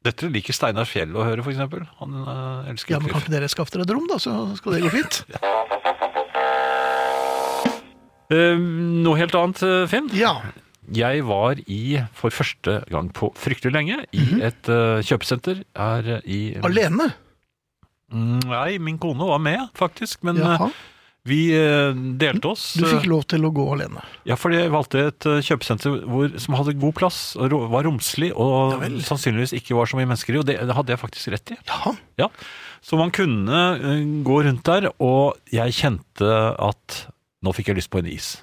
S3: Dette liker Steinar Fjell å høre, for eksempel. Han eh, elsker
S2: Ja, men Kan
S3: Cliff.
S2: ikke dere skaffe dere et rom, da, så skal det gå fint?
S3: Eh, noe helt annet, eh, Finn.
S2: Ja.
S3: Jeg var i, for første gang på fryktelig lenge, i
S2: Mhm.
S3: et eh, kjøpesenter her eh, i
S2: Alene?
S3: Mm, Nei, min kone var med, faktisk. Men eh,
S2: Jaha.
S3: vi eh, delte oss.
S2: Du fikk
S3: eh,
S2: lov til å gå alene.
S3: Ja, fordi jeg valgte et eh, kjøpesenter hvor, som hadde god plass, og ro- var romslig og sannsynligvis ikke var så mye mennesker i. Og det, det hadde jeg faktisk rett i.
S2: Jaha.
S3: Ja. Så man kunne eh, gå rundt der, og jeg kjente at nå fikk jeg lyst på en is.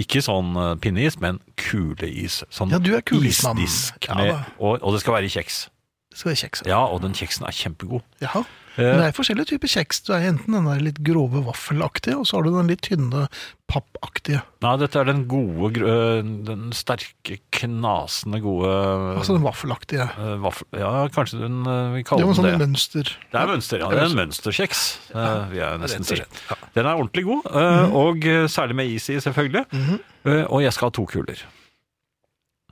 S3: Ikke sånn eh, pinneis, men kuleis. Sånn
S2: Ja, du er kulismann.
S3: isdisk,
S2: Ja,
S3: med,
S2: da.
S3: og, og det skal være i kjeks.
S2: Det skal være kjeks.
S3: Ja, og den kjeksen er kjempegod.
S2: Jaha.
S3: Eh,
S2: Men det er forskjellige typer kjeks. Du er enten den der litt grove vaffelaktige, og så har du den litt tynne pappaktige.
S3: Nei, dette er den gode, gr- øh, den sterke, knasende gode
S2: Altså den vaffelaktige.
S3: øh, vaffel... Ja, kanskje den øh,
S2: Det
S3: vi
S2: er
S3: kaller
S2: jo
S3: den
S2: sånn
S3: det.
S2: mønster.
S3: Det er mønster, ja. Det er en mønsterkjeks, øh, vil jeg nesten si. Den er ordentlig god, øh,
S2: Mhm.
S3: og øh, særlig med is i, selvfølgelig. Øh, Og jeg skal ha to kuler.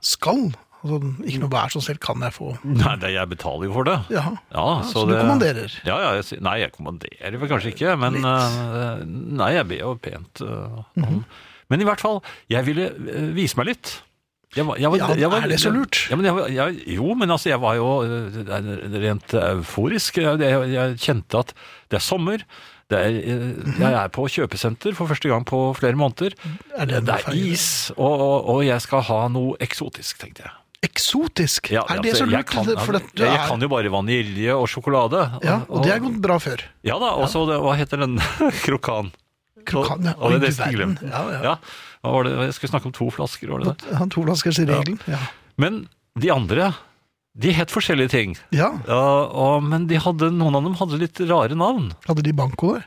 S2: Skall. Altså, ikke noe vær som selv kan jeg få.
S3: Nei, det, jeg betaler jo for det.
S2: Jaha.
S3: Ja,
S2: Så du kommanderer.
S3: Ja, ja, jeg, sier- nei, jeg kommanderer vel kanskje ikke, men
S2: Litt. Mhm.
S3: eh, Nei, jeg ber jo pent eh, om Men i hvert fall, jeg ville eh, vise meg litt. Jeg var, jeg var,
S2: Ja,
S3: jeg var,
S2: er det så lurt?
S3: Ja, men jeg, var- jeg, jo, men altså, jeg var jo eh, rent euforisk. Jeg, jeg, jeg kjente at det er sommer. Det er, eh,
S2: Mhm.
S3: jeg er på kjøpesenter for første gang på flere måneder.
S2: Er det en
S3: det er
S2: feil?
S3: is, og, og, og jeg skal ha noe eksotisk, tenkte jeg.
S2: Eksotisk!
S3: Ja,
S2: er det
S3: altså,
S2: så
S3: jeg
S2: lurt?
S3: Kan,
S2: For det, du
S3: jeg, jeg
S2: er-
S3: kan jo bare vanilje og sjokolade.
S2: ja, og det er gått bra før.
S3: Ja da, og så det- hva heter den krokan?
S2: Krokan, ja.
S3: Og-
S2: Oi,
S3: og det er
S2: du
S3: nesten
S2: verden.
S3: glemt.
S2: Ja, ja.
S3: Ja, hva var det? Jeg skulle snakke om to flasker, var det det?
S2: Han toflaskersregelen. Ja.
S3: Men de andre, de het forskjellige ting.
S2: ja.
S3: Ja, og, men de hadde, noen av dem hadde litt rare navn.
S2: Hadde de banko der?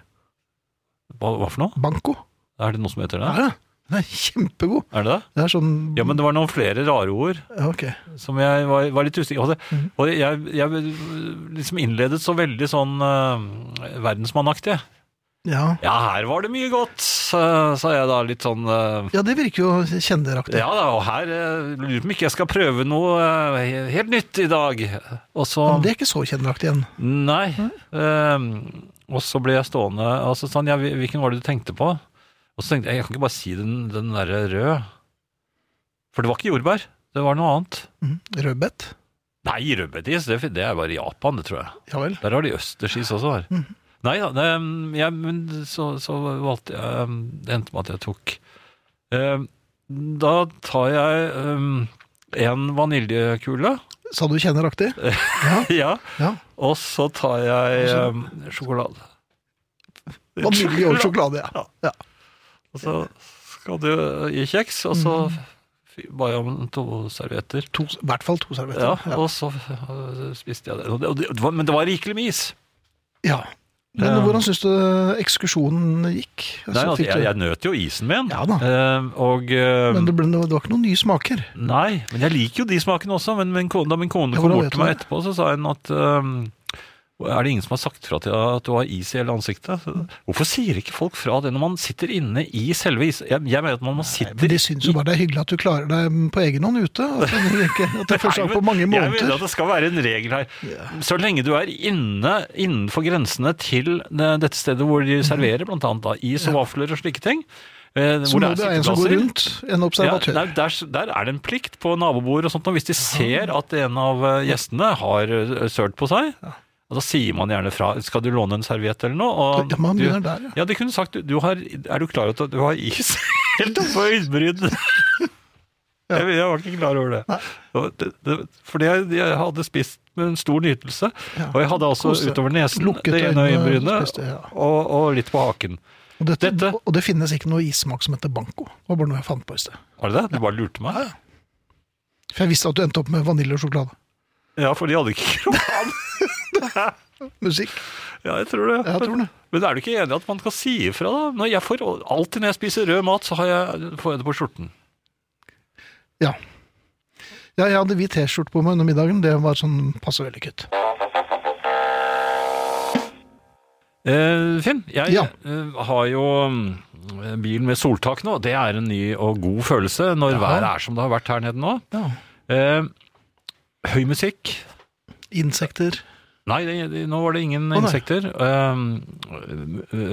S3: Hva, hva for noe?
S2: Banko?
S3: Er det noe som heter det?
S2: Ja, ja. Den er kjempegod.
S3: Er det det?
S2: Det er sånn
S3: Ja, men det var noen flere rare ord
S2: Ja, ok.
S3: som jeg var, var litt usikker på. Og,
S2: Mhm.
S3: det- og jeg, jeg liksom innledet så veldig sånn eh, verdensmannaktig.
S2: Ja.
S3: Ja, her var det mye godt, sa sa jeg da litt sånn eh,
S2: ja, det virker jo kjenneraktig.
S3: Ja da, og her eh, lurer på om ikke jeg skal prøve noe eh, helt nytt i dag. Og så
S2: Men det er ikke så kjenneraktig igjen.
S3: Nei. eh, og så ble jeg stående altså sånn, ja, hvil- Hvilken var det du tenkte på? Og så tenkte jeg jeg kan ikke bare si den, den derre rød. For det var ikke jordbær. Det var noe annet.
S2: Mm. Rødbet.
S3: Nei, rødbetis, det, det er bare i Japan, det tror jeg.
S2: Ja vel.
S3: Der har de østerskis også. her.
S2: Mhm.
S3: Nei da, det, mm, jeg, men så, så valgte jeg mm, Det endte med at jeg tok Eh, Da tar jeg mm, en vaniljekule.
S2: Sa du kjenneraktig?
S3: Ja.
S2: Ja.
S3: Og så tar jeg mm, sjokolade.
S2: Vanilje og sjokolade, ja.
S3: Og så skal du eh, gi kjeks, og så
S2: Mhm.
S3: fy- ba jeg om to servietter.
S2: To, I hvert fall to
S3: Ja,
S2: servietter. Ja.
S3: og så øh, spiste jeg det. Og det, og det, det var, men det var rikelig med is.
S2: ja. Men
S3: Ja.
S2: hvordan syns du ekskursjonen gikk? Altså,
S3: Nei, altså,
S2: fikk du-
S3: jeg, jeg nøt jo isen min.
S2: Ja da.
S3: Eh, og eh,
S2: Men det, ble, det var ikke noen nye smaker.
S3: Nei, men jeg liker jo de smakene også. Men min kone, da min kone
S2: Ja,
S3: kom
S2: hvordan
S3: bort
S2: vet
S3: til
S2: du
S3: meg
S2: det?
S3: etterpå, så sa hun at ehm, Er det ingen som har sagt fra til deg at du har is i hele ansiktet? Så, Hvorfor sier ikke folk fra det når man sitter inne i selve is... Jeg, jeg mener at man må sitte
S2: Men de syns jo bare det er hyggelig at du klarer deg på egen hånd ute. At du, ikke, at du først
S3: Nei,
S2: er
S3: men
S2: på mange
S3: Jeg mener at
S2: måneder.
S3: det skal være en regel her. Så lenge du er inne innenfor grensene til det- dette stedet hvor de serverer blant annet da, is og vafler og slike ting, eh,
S2: Så
S3: hvor
S2: må
S3: det
S2: det
S3: er
S2: være en som går
S3: sitteplasser.
S2: rundt, en
S3: Ja,
S2: observatør.
S3: der, der, der er det en plikt på nabobordet og sånt, og hvis de ser at en av eh, gjestene har eh, sølt på seg, og da sier man gjerne fra, skal du låne en serviett eller noe? Og
S2: Ja, man
S3: du,
S2: begynner der, ja.
S3: ja, de kunne sagt, du, du har, er du klar over at du har is helt på øyenbrynet? Jeg, jeg var ikke klar over det. Og det, det fordi jeg, jeg hadde spist med en stor nytelse,
S2: Ja.
S3: og jeg hadde altså
S2: Kose.
S3: utover nesen
S2: Lukket
S3: det ene
S2: øynene,
S3: øyenbrynet,
S2: spiste, ja.
S3: og, og litt på haken.
S2: Og, dette,
S3: Dette-
S2: og det finnes ikke noe issmak som heter banco. Det var bare noe jeg fant på i sted.
S3: Var det det? Du bare lurte meg?
S2: For jeg visste at du endte opp med vanilje og sjokolade.
S3: Ja, for de hadde ikke kroner.
S2: Musikk.
S3: Ja, jeg tror det.
S2: Jeg tror det.
S3: Men, men er du ikke enig i at man skal si ifra, da? Når jeg får, alltid når jeg spiser rød mat, så har jeg, får jeg det på skjorten.
S2: Ja. ja. Jeg hadde hvit T-skjorte på meg under middagen. Det var sånn passe vellykket.
S3: Eh, Finn, jeg
S2: Ja.
S3: eh, har jo mm, bil med soltak nå. Det er en ny og god følelse når været er som det har vært her nede nå.
S2: Ja.
S3: Eh, høy musikk.
S2: Insekter.
S3: Nei, det, det, nå var det ingen
S2: nei.
S3: insekter. Eh,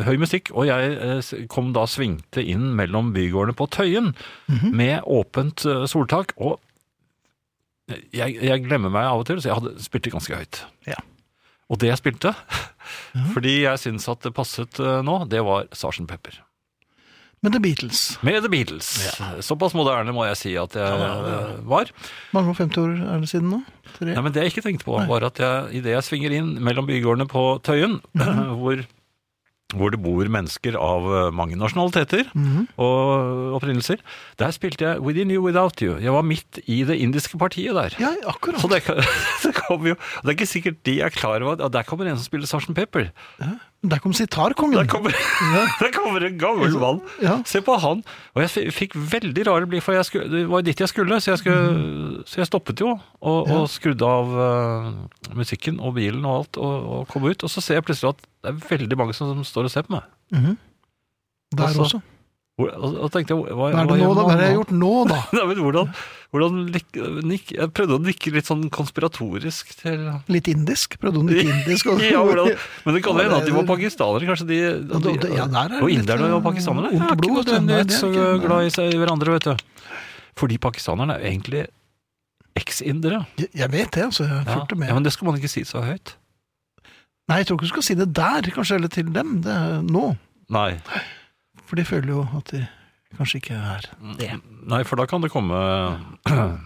S3: høy musikk. Og jeg eh, s- kom da svingte inn mellom bygårdene på Tøyen
S2: Mhm.
S3: med åpent eh, soltak. Og jeg, jeg glemmer meg av og til, så jeg hadde, spilte ganske høyt.
S2: Ja.
S3: Og det jeg spilte, fordi jeg syns at det passet eh, nå, det var Sarsen Pepper.
S2: Men The Beatles.
S3: Med The Beatles. Såpass moderne må jeg si at jeg eh, var.
S2: Mange og 50 år er det siden nå? Tre?
S3: Nei, men Det jeg ikke tenkte på, var at jeg, idet jeg svinger inn mellom bygårdene på Tøyen, hvor, hvor det bor mennesker av eh, mange nasjonaliteter
S2: Mhm.
S3: og opprinnelser, der spilte jeg Within You Without You. Jeg var midt i det indiske partiet der.
S2: Ja, akkurat.
S3: Så det, kan- det kommer jo Det er ikke sikkert de er klar over at ja, der kommer en som spiller Sarsen Pepper.
S2: Der kom sitarkongen.
S3: Der kommer, der kommer en gammel mann.
S2: Ja.
S3: Se på han. Og jeg f- fikk veldig rare blikk, for jeg skulle, det var dit jeg skulle, så jeg, skulle, så jeg stoppet jo og, og skrudde av eh, musikken og bilen og alt og, og kom ut. Og så ser jeg plutselig at det er veldig mange som, som står og ser på meg.
S2: Mhm. Der
S3: altså,
S2: også.
S3: Hvor- Og, og tenkte jeg, hva,
S2: Hva er det nå, da? Hva har jeg gjort nå, da?
S3: Nei, men hvordan, hvordan lik- nikk, Jeg prøvde å nikke litt sånn konspiratorisk til
S2: Litt indisk? Prøvde hun litt indisk? Og,
S3: ja, hvordan, men det kan
S2: Ja,
S3: hende at de var
S2: det-
S3: pakistanere, kanskje de,
S2: Ja, det- det- ja, der er det
S3: Og
S2: litt,
S3: inderne og
S2: eh,
S3: pakistanere.
S2: ondt
S3: Ja, ikke
S2: blod, det- nei, det
S3: nødvendigvis
S2: er
S3: så
S2: ikke-
S3: glad i seg i hverandre, vet du. Fordi pakistanerne er jo egentlig eks-indere.
S2: Jeg- Jeg vet det, altså. Jeg
S3: Ja.
S2: fulgte med.
S3: ja, men det skal man ikke si så høyt.
S2: Nei, jeg tror ikke du skal si det der, kanskje, eller til dem. Det er nå.
S3: Nei.
S2: For de føler jo at de kanskje ikke er det.
S3: Nei, for da kan det komme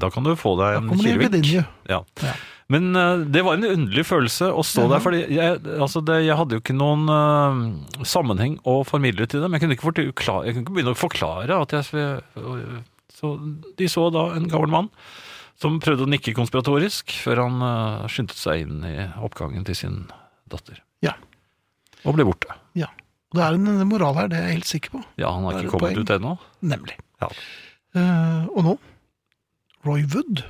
S3: Da kan du få deg en
S2: Kommer de
S3: kirvik.
S2: ved din, jo?
S3: Ja.
S2: Ja.
S3: Men eh, det var en underlig følelse å stå der, fordi jeg, altså det, jeg hadde jo ikke noen eh, sammenheng å formidle til dem. Jeg kunne ikke, forkla- jeg kunne ikke begynne å forklare at jeg eh, Så de så da en gammel mann som prøvde å nikke konspiratorisk før han eh, skyndte seg inn i oppgangen til sin datter.
S2: Ja.
S3: Og ble borte.
S2: ja. Og det er en en moral her, det er jeg helt sikker på.
S3: Ja, han har
S2: Da er
S3: ikke
S2: det
S3: kommet
S2: poeng.
S3: ut ennå.
S2: Nemlig.
S3: Ja.
S2: Eh, og nå? Roy Wood.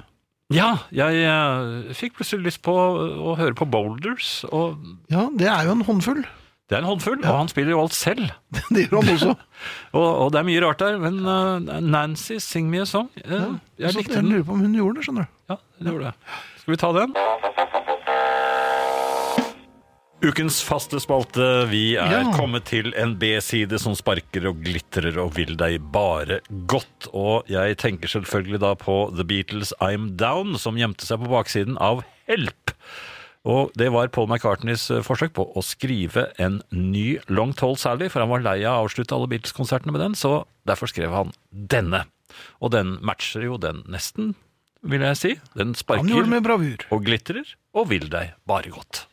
S3: Ja, jeg eh, fikk plutselig lyst på å høre på Boulders, og
S2: Ja, det er jo en håndfull.
S3: det er en håndfull, og han spiller jo alt selv.
S2: Det gjør han også.
S3: Og, og det er mye rart der, men eh, Nancy, sing me a song. Eh, jeg
S2: Så
S3: likte
S2: jeg
S3: den.
S2: lurer på om hun gjorde det, skjønner du.
S3: Ja, det gjorde det. Skal vi ta den? Ukens faste spalte. Vi er
S2: Ja.
S3: kommet til en B-side som sparker og glitrer og vil deg bare godt. Og jeg tenker selvfølgelig da på The Beatles' I'm Down, som gjemte seg på baksiden av Help. Og det var Paul McCartneys eh, forsøk på å skrive en ny Long Tall Sally, for han var lei av å avslutte alle Beatles-konsertene med den, så derfor skrev han denne. Og den matcher jo den nesten, vil jeg si.
S2: Han
S3: Den
S2: gjorde
S3: sparker
S2: det med bravur.
S3: og glitrer og vil deg bare godt.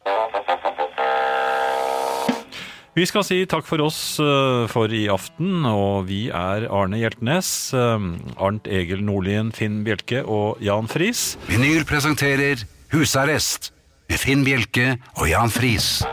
S3: Vi skal si takk for oss eh, for i aften, og vi er Arne Hjeltnes, eh, Arnt Egil Nordlien, Finn Bjelke og Jan Friis.
S1: Vinyl presenterer Husarrest med Finn Bjelke og Jan Friis.